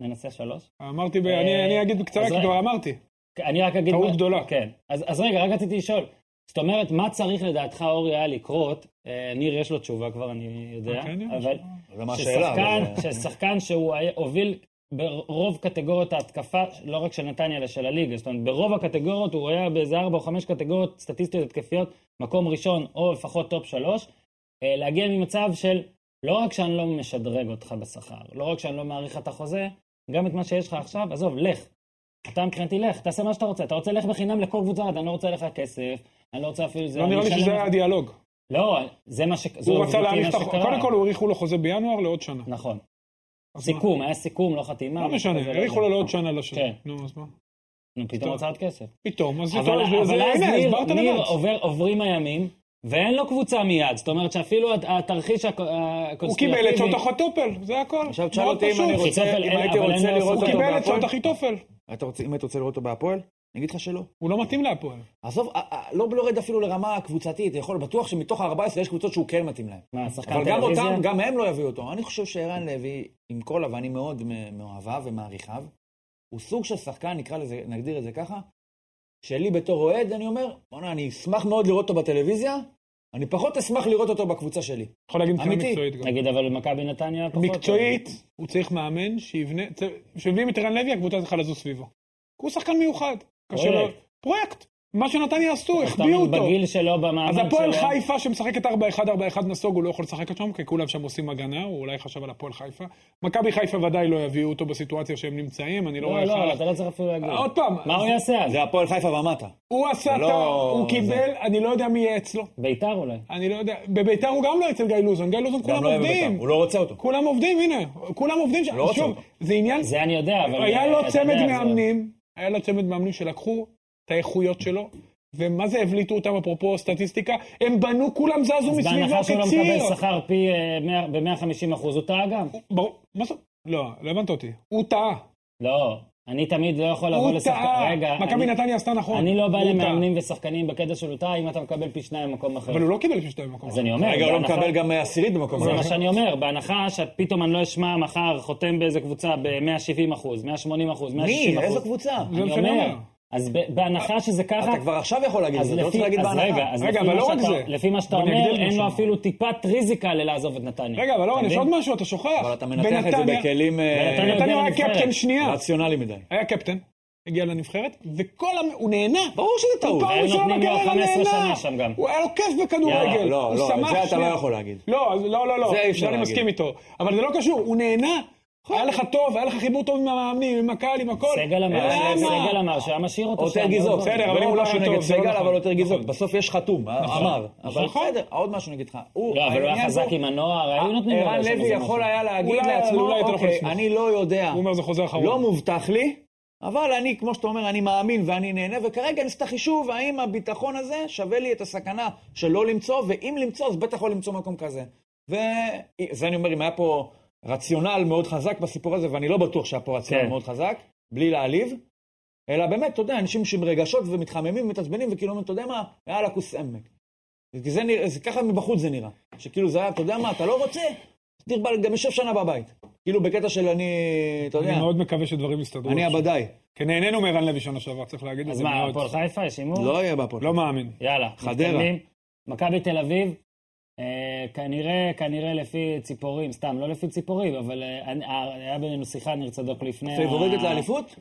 ננסה שלוש.
אמרתי, ב- אני
אה,
אני אגיד בקצרה,
אז
כי
רגע.
כבר אמרתי.
אני רק אגיד...
טעות
מה-
גדולה.
כן. אז, אז רגע, רק רציתי לשאול. זאת אומרת, מה צריך לדעתך, אורי, היה לקרות? אה, ניר, יש לו תשובה כבר, אני יודע.
אוקיי, ניר,
אבל... אה,
לא יודע מה השאלה.
ששחקן,
אבל-
ששחקן שהוא היה- הוביל ברוב קטגוריות ההתקפה, לא רק של נתניה, אלא של הליגה. זאת אומרת, ברוב הקטגוריות הוא היה באיזה ארבע או חמש קטגוריות סטטיסטיות התקפיות, מקום ראשון או לפחות טופ שלוש. אה, להגיע ממצב של לא רק שאני לא משדרג אותך בשכר, לא רק שאני לא מאריך את החוזה, גם את מה שיש לך עכשיו, עזוב, לך. אתה מבחינתי לך, תעשה מה שאתה רוצה. אתה רוצה לך בחינם לכל קבוצה, אתה לא רוצה לך כסף, אני לא רוצה אפילו... זה,
לא
אני
נראה לי
אשלם
שזה
לך.
היה הדיאלוג.
לא, זה מה ש... זו
הוא רצה
עובדתי
להאריך את
מה
החוזה.
שקרה.
קודם כל, הוא האריכו לו חוזה בינואר לעוד שנה.
נכון.
אז מה?
סיכום, היה סיכום, לא חתימה.
אוקיי. לא משנה,
כזה,
האריכו לו לעוד שנה לשנה.
כן.
נו, אז מה?
נו, פתאום הוצאת כסף.
פתאום, אז
אבל
זה-
אבל
זה-
אז
הנה,
ניר-
הסברת
ניר
לבד.
עובר- עוברים הימים, ואין לו קבוצה מיד. זאת אומרת שאפילו הת- התרחיש הק- הקונספירטיבי...
הוא קיבל את שעות אחיתופל, זה הכל.
עכשיו תשאל
מאוד
אותי אם
פשוט.
אני
חיצופל,
רוצה, אם
אין-
הייתי
אבל אין
רוצה
לו
לראות
זכות.
הוא
אותו
קיבל את
בהפועל,
שעות אחיתופל.
אתה רוצה- אם היית רוצה לראות אותו בהפועל, אני אגיד לך שלא.
הוא לא מתאים להפועל.
עזוב, אה, אה, לא יורד אפילו לרמה קבוצתית, יכול, בטוח שמתוך ה-14 יש קבוצות שהוא כן מתאים להם.
מה, שחקן
אבל גם
טלוויזיה?
אותם, גם הם לא יביאו אותו. אני חושב שערן לוי, עם כל ואני מאוד מ- מאוהביו ומעריכיו, הוא סוג של שחקן, נקרא לזה, נגדיר את זה ככה, שלי בתור אוהד, אני אומר, בוא'נה, אני אשמח מאוד לראות אותו בטלוויזיה, אני פחות אשמח לראות אותו בקבוצה שלי.
יכול להגיד מבחינה
אמיתי.
מקצועית גם.
נגיד, אבל מכבי נתניה פחות...
מקצועית, הוא צריך מאמן שיבנה, כשמביאים את ערן לוי, הקבוצה צריכה לזוז סביבו. כי הוא שחקן מיוחד. קשה לו-
פרויקט.
פרויקט. מה שנתניה
אתה
עשו, החביאו אותו.
אה, בגיל שלו, במעמד
אז
שלו.
הפועל חיפה שמשחקת 4-1, 4-1 נסוג, הוא לא יכול לשחק שם, כי כולם שם עושים הגנה, הוא אולי חשב על הפועל חיפה. מכבי חיפה ודאי לא יביאו אותו בסיטואציה שהם נמצאים, אני לא רואה
לא,
איך...
לא,
הלאה.
אתה לא צריך אפילו להגיד.
עוד פעם,
מה הוא יעשה אז?
זה הפועל חיפה ומטה.
הוא עשה
זה לא-
טעות, הוא
זה-
קיבל, אני לא יודע מי יהיה אצלו.
ביתר אולי.
אני לא יודע, בביתר הוא גם לא אצל גיא לוזון, גיא לוזון
גם
כולם
לא יהיה
עובדים.
בבית"ר, הוא לא רוצה אותו.
כולם עובדים, הנה, כולם עובדים שם.
לא רוצה
שוב,
אותו.
זה עניין,
זה אני יודע, אבל... אה,
היה לו
אתה
צמד
יודע, זה-
מאמנים, היה לו צמד מאמנים שלקחו את האיכויות שלו, ומה זה הבליטו אותם אפרופו סטטיסטיקה, הם בנו, כולם זזו
אז
מסביבו
בהנחה שהוא לא
כציר.
מקבל שכר פי... אה, מאה- ב-150 אחוז, הוא טעה גם.
ברור, מה זה? לא, לא הבנת אותי. הוא טעה.
לא, אני תמיד לא יכול לבוא
הוא
לשחקן...
טעה.
רגע,
מכבי
אני-
נתניה עשתה נכון.
אני לא בא
הוא טעה.
למאמנים ושחקנים בקטע של אותה, אם אתה מקבל פי שניים במקום אחר.
אבל הוא לא קיבל שתי מקום.
אז אני אומר,
רגע, הוא לא
בהנחה-
מקבל גם עשירית במקום
זה
הזה.
מה שאני אומר, בהנחה שפתאום אני לא אשמע מחר חותם באיזה קבוצה ב-170 אחוז, 180 אחוז, 160
מי?
אחוז.
איזו קבוצה?
זה
אני
מה שאני
אומר.
אומר.
אז ב- בהנחה שזה ככה,
אתה כבר עכשיו יכול להגיד את
אז
זה, אתה לא
לפי,
צריך להגיד
אז
בהנחה.
רגע, אז
רגע,
לפי
אבל
מה
לא רק
שאתה-
זה.
לפי מה שאתה
בוא נגדיר
אומר, אין לו
משהו.
אפילו טיפת ריזיקה לעזוב את נתניה.
רגע, אבל
אתה
אורן, יש
מבין?
עוד משהו, אתה שוכח.
אבל אתה מנתח את זה
בנתניה-
בכלים אה,
בנתניה-
נתניה הוא היה
בנבחרת.
קפטן שנייה.
רציונליים מדי.
היה קפטן. הגיע לנבחרת, וכל המ... הוא נהנה.
ברור שזה טעות.
הוא פעם
הם
ראשונה
נותנים לו
בקריירה
15 שנה
נהנה.
שם גם.
הוא היה לו כיף בכדורגל.
יאללה,
לא,
הוא
לא, את
שמח
זה אתה לא
שנייה.
יכול להגיד.
לא, אז לא, לא, לא.
זה אי אפשר
אני
להגיד.
מסכים איתו. אבל זה לא קשור, הוא נהנה. היה לך טוב, היה לך חיבור טוב עם המאמנים, עם הקהל, עם הכל.
סגל אמר,
למה?
סגל אמר שהיה משאיר אותו
יותר
שם.
גזעו,
לא דברים.
בסדר, אבל אם הוא לא
משהו
שטוב,
נגד
זה לא
סגל,
נכון.
אבל יותר גזעו.
נכון.
בסוף יש חתום, אה? אמר. אבל
נכון.
בסדר, עוד משהו נגיד לך. הוא-
לא, אבל הוא היה
העניין
חזק
פה- אה,
עם הנוער, היו נותנים לו
ערן
שם
לוי
איזה
יכול
משהו.
היה להגיד
אולי-
לעצמו,
אולי אתה לא יכול
אוקיי,
לסמוך."
אני לא יודע.
הוא אומר, זה חוזר אחרון.
לא מובטח לי, אבל אני, כמו שאתה אומר, אני מאמין ואני נהנה, וכרגע אני עושה את החישוב האם הביטחון הזה שווה לי את הסכנה של לא למצוא, ואם למצוא, אז בטח לא למצוא מקום כזה. וזה אני אומר, אם היה פה רציונל מאוד חזק בסיפור הזה, ואני לא בטוח שהיה פה רציונל
כן.
מאוד חזק, בלי להעליב, אלא באמת, אתה יודע, אנשים שהם רגשות ומתחממים ומתעצבנים, וכאילו אומרים, אתה יודע מה, יאללה, כוס עמק. כי זה נראה, זה ככה מבחוץ זה נראה. שכאילו זה היה, אתה יודע מה, אתה לא רוצה? תרבל, גם יושב שנה בבית. כאילו בקטע של אני, אתה יודע,
אני מאוד מקווה שדברים יסתדרו.
אני הבדאי.
כי נהנינו מערן לוי שנה שעברה, צריך להגיד את
אז
זה
מה,
מאוד.
הפועל חיפה, יש הימור?
לא יהיה בהפועל.
לא מאמין.
יאללה,
חדרה.
מתקדמים. מכבי תל אביב, אה, כנראה, כנראה לפי ציפורים, סתם, לא לפי ציפורים, אבל אה, אני- אה, היה בינינו שיחה, ניר צדוק לפני...
פייבוריטית
ה-
לאליפות?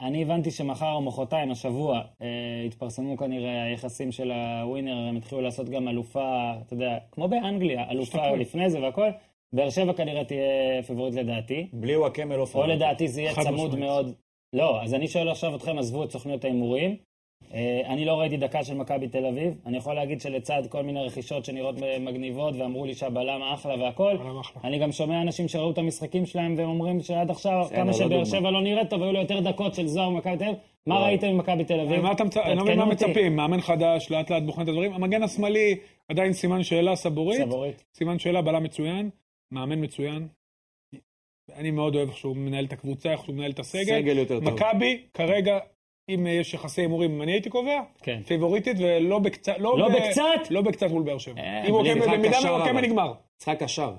אני הבנתי שמחר או מחרתיים, השבוע, אה, יתפרסמו כנראה היחסים של הווינר, הם התחילו לעשות גם אלופה, אתה יודע, כמו באנגליה, אלופה לפני זה והכל. באר שבע כנראה תהיה פייבוריט לדעתי,
בלי וואקמה לא
או
פייבוריט.
לדעתי זה יהיה
חד
צמוד
משמעית.
מאוד. לא, אז אני שואל עכשיו אתכם, עזבו את סוכניות ההימורים. אה, אני לא ראיתי דקה של מכבי תל אביב. אני יכול להגיד שלצד כל מיני רכישות שנראות מגניבות, ואמרו לי שהבלם אחלה והכל,
בלם אחלה.
אני גם שומע אנשים שראו את המשחקים שלהם והם אומרים שעד עכשיו,
בסדר,
כמה
לא
שבאר
דוגמה. לא.
שבע לא נראית טוב, היו לו יותר דקות של זוהר במכבי תל אביב. מה
וואי.
ראיתם ממכבי תל
אה,
אביב?
מה אתה מצ- אני לא מבין
תעדכנו
מה
אותי.
מצפים, מאמן חדש, לאט לאט בוחן את הדברים. המגן השמאלי עדיין סימן שאלה סבורית.
סבורית.
סימן שאלה, בלם מצוין, מאמן מצוין. אני מאוד אוהב איך שהוא מנהל את הקבוצה, איך שהוא מנהל את הסגל.
סגל יותר טוב.
מכבי, כרגע, אם יש יחסי הימורים, אם אני הייתי קובע,
כן.
פיבוריטית, ולא בקצת...
לא
אוקיי.
בקצת?
לא בקצת מול באר שבע.
אה,
אם הוא
בלי
עוקב-
משחק
במידה
קשר,
מהוקמה
אבל.
נגמר.
משחק קשר.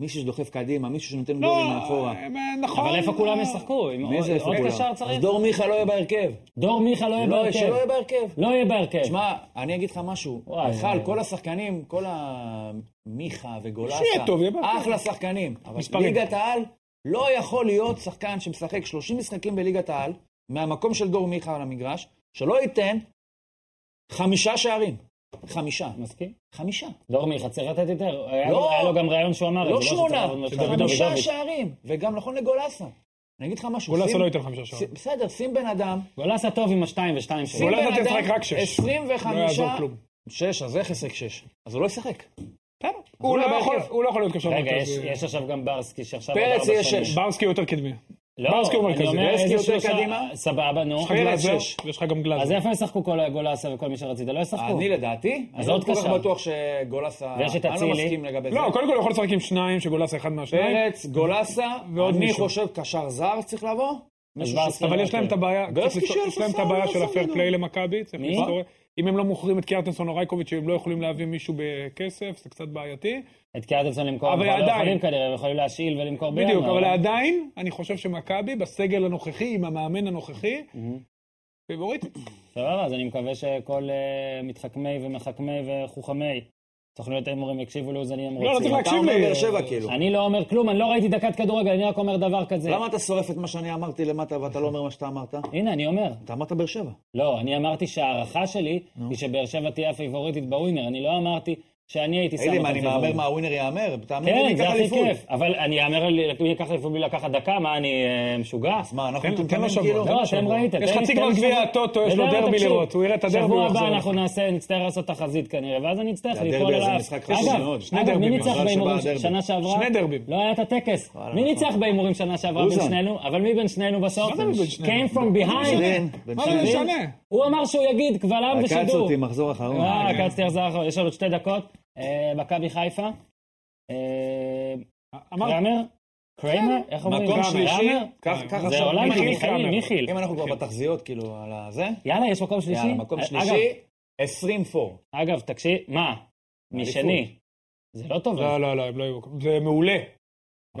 מישהו שדוחף קדימה, מישהו שנותן
לא,
גולים מאחורה.
אה, נכון.
אבל איפה כולם
אה,
ישחקו? עם
מי זה
עוד-
איפה
עוד
כולם?
קשר צריך?
אז דור מיכה לא יהיה בהרכב.
דור מיכה לא יהיה
לא, שלא
בהרכב.
יהיה בהרכב.
לא יהיה בהרכב.
כן.
שמע, אני אגיד לך משהו.
וואי,
בכלל,
וואי.
כל השחקנים, כל המיכה וגולסה,
שיהיה טוב, יהיה בהרכב.
אחלה שחקנים. אבל
מספרים.
ליגת העל לא יכול להיות שחקן שמשחק 30 משחקים בליגת העל, מהמקום של דור מיכה על המגרש, שלא ייתן חמישה שערים. חמישה.
מסכים?
חמישה.
אה,
דור לא, מיכה צריך לתת יותר. היה
לא.
לו- היה לו גם רעיון שהוא אמר. את זה,
לא
שזה
שמונה,
צריך לעבוד
שזה
מול שלומי
חמישה
דוידוביץ'.
שערים. וגם נכון לגולסה. אני אגיד לך משהו.
גולסה
שים-
לא ייתן חמישה
ש-
שערים.
בסדר, שים בן אדם,
גולסה לא טוב עם השתיים ושתיים שלו.
שים
גולסה
בן
תשחק
אדם,
רק שש.
25...
לא יעזור כלום.
שש, אז איך ישחק שש? אז הוא לא ישחק.
הוא
אולי
לא יכול-
בהרכב.
הוא לא יכול להיות קשר.
רגע, יש-
מרכזי.
יש עכשיו גם ברסקי שעכשיו...
פרץ
עד ארבע
יהיה
שנים.
שש.
ברסקי יותר קדמי.
לא,
ברסקי הוא
אני
מרכזי.
אומר
ברסקי
איזה
יותר
שלושה...
קדימה.
סבבה, נו.
יש לך גלאזר,
שש.
ויש לך גם
אז
גלאזר.
איפה ישחקו כל גולסה וכל מי שרצית? לא
אה,
ישחקו.
אני לדעתי, אני
אז
לא
עוד
כל כך
קשר.
בטוח שגולסה...
ויש את
אני לא
אצילי.
מסכים לגבי זה.
לא, קודם כל הוא יכול לשחק עם שניים, שגולסה אחד מהשניים.
פרץ, גולסה,
ועוד
אני
מישהו.
חושב קשר זר צריך לבוא. מישהו
ברסקי. לא
שישחק.
אבל יש
אוקיי.
להם את הבעיה,
גולסקי
צריך לפתור-
שואל
יש להם את
ספסל,
הבעיה
לא
של
סביר.
הפייר פליי למכבי, צריך
מי?
לפתור, אם הם לא מוכרים את קיארטנסון או רייקוביץ' שהם לא יכולים להביא מישהו בכסף, זה קצת בעייתי.
את קיארטנסון למכור,
אבל
הם כבר לא
עדיין.
יכולים כנראה, הם יכולים להשאיל ולמכור בינואר.
בדיוק, אבל עדיין, אני חושב שמכבי, בסגל הנוכחי, עם המאמן הנוכחי,
Mm-hmm.
פיבוריטית.
סבבה, אז אני מקווה שכל אה, מתחכמי ומחכמי וחוכמי סוכניות ההימורים יקשיבו לי אז אני הם
לא, לא
רוצים.
צריך
אתה
תקשיב
אומר
לי.
באר שבע כאילו.
אני לא אומר כלום, אני לא ראיתי דקת כדורגל, אני רק אומר דבר כזה.
למה אתה שורף את מה שאני אמרתי למטה ואתה לא אומר מה שאתה אמרת?
הנה, אני אומר.
אתה אמרת באר שבע.
לא, אני אמרתי שההערכה שלי היא שבאר שבע תהיה הפייבוריטית בווינר. אני לא אמרתי שאני הייתי שם
תגיד לי,
אותם
מה, אני מהמר
פייבוריטים.
מה הווינר יהמר? תאמין לי,
לא- כן,
ניקח
זה הכי
אליפות.
כיף. אבל אני אאמר על מי ייקח אליפות בלי לקחת דקה, מה, אני אה, משוגע?
אז מה, אנחנו
תן- תן לו
מטומטמים
שבוע.
כאילו?
תן לו
לא, אתם
שבוע.
ראיתם.
יש
תן-
חצי
תן
גמר
לי
גביע
שבוע.
הטוטו, יש לו
בסדר,
דרבי
תקשיב.
לראות, הוא יראה את הדרבי, הוא
שבוע
יחזור
הבא אנחנו
אליך.
נעשה, נצטרך לעשות תחזית כנראה, ואז אני אצטרך
הדרבי
ליפול
הזה
עליו.
משחק חשוב
אגב,
מאוד. שני
אגב, מי
דרבים,
ניצח
מזל
בהימורים
שבא הדרבי.
שנה שעברה?
שני דרבים.
לא היה את הטקס.
וואלה,
מי
נכון.
ניצח בהימורים שנה שעברה בין
אוזן.
שנינו? אבל מי בין שנינו בסוף?
מה זה מי בין שנינו?
came from behind.
אוזן, בן
מה זה
שני.
משנה?
הוא אמר שהוא יגיד קבל עם ושידור.
כן, עקץ אותי, מחזור אחרון.
אה, עקצתי החזר אחרון. יש לנו עוד שתי דקות. אה, מכבי חיפה. אה,
אמרתי,
קרמר? קריימר? איך אומרים?
מקום
קרמר?
שלישי,
קרמר?
קח
זה
קח
אה, זה
עכשיו,
עולם,
מיכאל
מיכאל,
קרמר.
מיכאל.
אם אנחנו כבר בתחזיות, כאילו, על הזה,
יאללה, יש מקום שלישי? אה,
יאללה, מקום
אגב,
שלישי, 24.
אגב, תקשיב, מה? משני. זה לא טוב.
לא, לא, לא, הם לא יהיו, זה מעולה.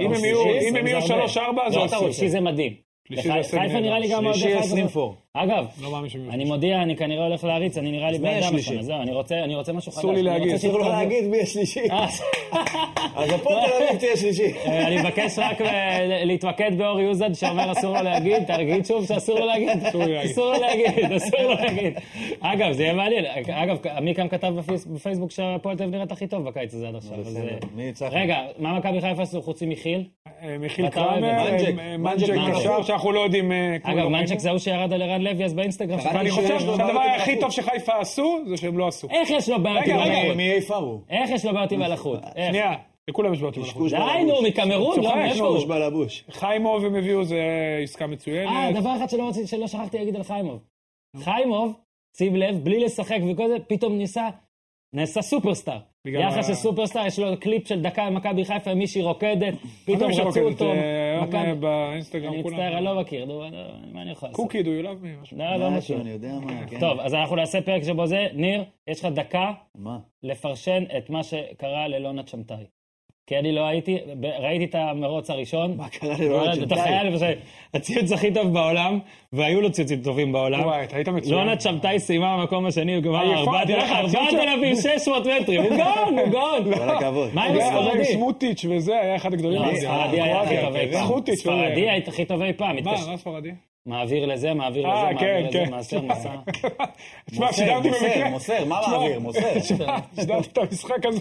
אם הם יהיו- אם הם יהיו 3-4, אז זה
לא,
עושה.
שלישי זה מדהים.
שלישי זה
לח-
הישג
חיפה
נהדר.
נראה לי גם...
שלישי
עוד אחד-
24.
אגב,
לא מאמין שהם
אני
יהיו.
מודיע, אני כנראה הולך להריץ, אני נראה לי
מי
בן אדם
השלישי?
השנה, זהו, אני רוצה אני רוצה משהו חדש.
אסור לי
אני
להגיד.
רוצה
אסור לך
שתתחברו.
להגיד מי השלישי.
אה,
אז הפועל תל אביב תהיה שלישי.
אה, אני מבקש רק אה, ל- להתמקד באור יוזד שאומר אסור לו להגיד, תגיד שוב שאסור לו להגיד.
אסור לי להגיד.
אסור לו להגיד, אסור לו להגיד. אגב, זה יהיה מעניין. אגב, עמיקם כתב בפייס- בפייסבוק שהפועל תל אביב נראית הכי טוב בקיץ הזה עד עכשיו. אז,
בסדר,
אה,
מי ניצח?
רגע, מה מכבי חיפה עשו חוץ מכיל?
אה, מיכיל
ואתה אוהב את
קרמר,
זה.
אה, אה,
מנג'ק,
מנג'ק
מנג'ק.
קשר, שאנחנו לא יודעים... אה, כמו
אגב,
לא
מנצ'ק
ראינו.
זה לא, ההוא שירד על ערן לוי, אז באינסטגרם שלך.
אני
שיש
חושב
לו בעיות
שהדבר
עם
הכי
החוט.
טוב שחיפה עשו, זה שהם לא עשו.
איך יש לו בעיות עם
רגע,
הלחות?
רגע,
מי איפה הוא?
איך יש לו בעיות עם הלחות? איך?
שנייה, לכולם יש בעיות עם הלכות.
קשקוש
די, נו, מקמרון, לא,
צוחק,
מאיפה
קשקוש
הוא?
בלבוש.
חיימוב הם הביאו, זה עסקה
אה,
מצוינת.
דבר אחד שלא רציתי, שלא שכחתי להגיד על חיימוב. חיימוב, שים לב, בלי לשחק וכל זה, פתאום ניסה, נעשה סופרסטאר.
בגלל
יחס
ה-
לסופרסטאר, יש לו קליפ של דקה עם מכבי חיפה, מישהי רוקדת, פתאום
אני
רצו
שרוקדת,
אותו.
אה, היום,
מכבי-
אה, באינסטגרם
אני
כולם.
מצטער, אני לא מכיר, נו, לא, מה אני יכול לעשות?
קוקיד, הוא יולב מי, משהו.
לא, לא
אה, משהו,
משהו.
אני יודע מה, כן.
טוב, אז אנחנו נעשה פרק שבו זה. ניר, יש לך דקה
מה?
לפרשן את מה שקרה ללונה צ'מטאי. כי אני לא הייתי, ב- ראיתי את המרוץ הראשון.
מה קרה
לא
לא, ללונה
אתה
שבתאי?
חייל, וזה- הציוץ הכי טוב בעולם, והיו לו ציוצים טובים בעולם.
וואי, אתה היית מצוין.
לונה צ'מטאי סיימה במקום השני, הוא גמר
עייפה, תראה לך, הציוץ שלו.
4,600 מטרים, הוא גאון, הוא גאון.
כל הכבוד.
מה עם
אתה יודע, אבל
הספרדי?
סמוטיץ' וזה היה אחד הגדולים. אה,
לא,
במדינה.
הספרדי היה הכי
קרואטיה,
טוב אי פעם.
סמוטיץ',
ספרדי
וזה.
היה הכי טוב לא, אי פעם.
אה, מה,
מתקשר-
מה ספרדי?
מעביר לזה, מעביר
אה,
לזה,
כן,
מעביר לזה,
כן.
מעשר, מסע.
תשמע, שידרתי
מוסר,
במקרה.
מוסר, מה
תשמע,
להעביר? מוסר.
שידרתי את המשחק הזה.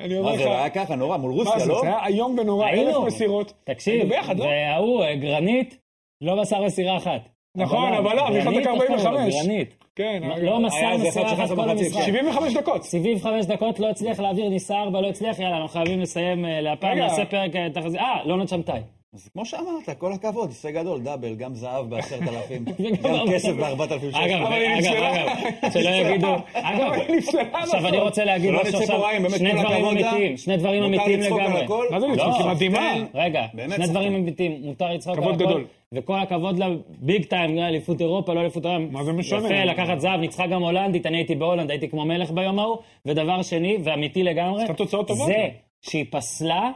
אני אומר
מה
לך,
זה היה ככה, נורא, מול
מה
רוסיה,
זה,
לא?
זה היה איום ונורא,
ראינו.
אלף מסירות.
תקשיב,
היינו ביחד, לא?
וההוא, אה, גרנית, לא מסר מסירה אחת. לא,
נכון, הבלם, נכנס
גרנית,
דקה
איך קוראים לו?
45.
גרנית.
כן, היה-
לא מסר
איזה
מסירה
אחד שנכנס
אחת כל
במחצית.
המשחק.
75 דקות.
סיבוב חמש דקות, לא הצליח להעביר, ניסה ארבע, לא הצליח, יאללה, אנחנו חייבים לסיים אה, להפעם,
רגע.
נעשה פרק אה, תחזית. אה, לונה צ'מטאי.
אז כמו שאמרת, כל הכבוד, הישג גדול, דאבל, גם זהב בעשרת אלפים,
וגם
גם לא כסף
ארבע.
בארבעת אלפים
אגב,
אבל היא
אגב,
נפסלה.
אגב, שלא יגידו, אגב,
אבל היא נפסלה
עכשיו
בסוף.
אני רוצה להגיד
שלא
משהו
נצא
עכשיו,
פה רעים, באמת
שני
כל
דברים
הכבוד לה.
אמיתיים, שני דברים
מותר
אמיתיים
לצחוק על
לגמרי.
הכל.
מה זה
לא,
לצחוק? היא מדהימה.
שחקן.
רגע,
באמת
שני
שחקן.
דברים אמיתיים, מותר לצחוק על
כבוד
הכל,
גדול.
וכל הכבוד לה, ביג טיים, אליפות אירופה, לא אליפות העולם.
מה זה משנה?
יפה, לקחת זהב, ניצחה גם הולנדית, אני הייתי בהולנד, הייתי כמו מלך ביום ההוא, ודבר שני, ואמיתי לגמרי,
עשתה תוצאות טובות.
זה שהיא פסלה,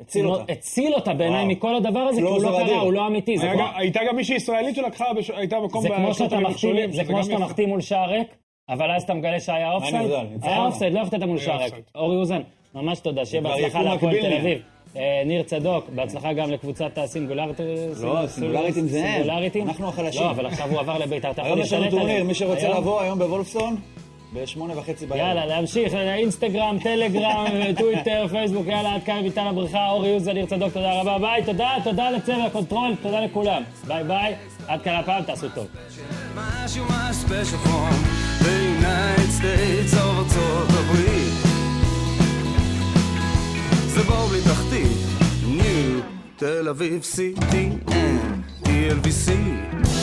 הציל אותה.
הציל אותה בעיניי
וואו.
מכל הדבר הזה, כי הוא
קלוזר
לא
אדיר.
קרה, הוא לא אמיתי, זה
היה
כמו-
גם- הייתה גם מישהי ישראלית שלקחה, בש- הייתה במקום
זה כמו
בשלוש
שאתה
של
מחטיא,
המכשולים,
זה
שזה
כמו
גם
שאתה
יפה.
מחטיא מול שער ריק, אבל אז אתה מגלה שהיה אופסייד.
הנבדל? ניצחון.
היה אופסייד, לא החטאת מול שער ריק.
אופסייד.
אורי אוזן, ממש תודה, שיהיה
כבר
בהצלחה
יקום
להפועל
מקביל
תל
לי.
אביב. אה, ניר צדוק, בהצלחה גם לקבוצת הסינגולרית. סינגול-
לא, סינגולריטים זה הם.
סינגולריטים?
אנחנו החלשים.
לא, אבל עכשיו הוא עבר לביתר, אתה יכול
היום יש לנו
להשתלט
טורניר,
עליהם.
מי שרוצה
היום-
לבוא היום בוולפסון, בשמונה וחצי בערב.
יאללה, להמשיך, אינסטגרם, טלגרם, טוויטר, פייסבוק, יאללה, עד כאן ביטן הבריכה, אורי יוזן, ניר צדוק, תודה רבה, ביי, תודה, תודה לצוות הקונטרול, תודה לכולם. ביי ביי, עד כאן הפעם, תעשו טוב.
משהו מה special from the United States of ארצות הברית. זה בור בלי תחתית, ניו, תל אביב, CTN, TLVC.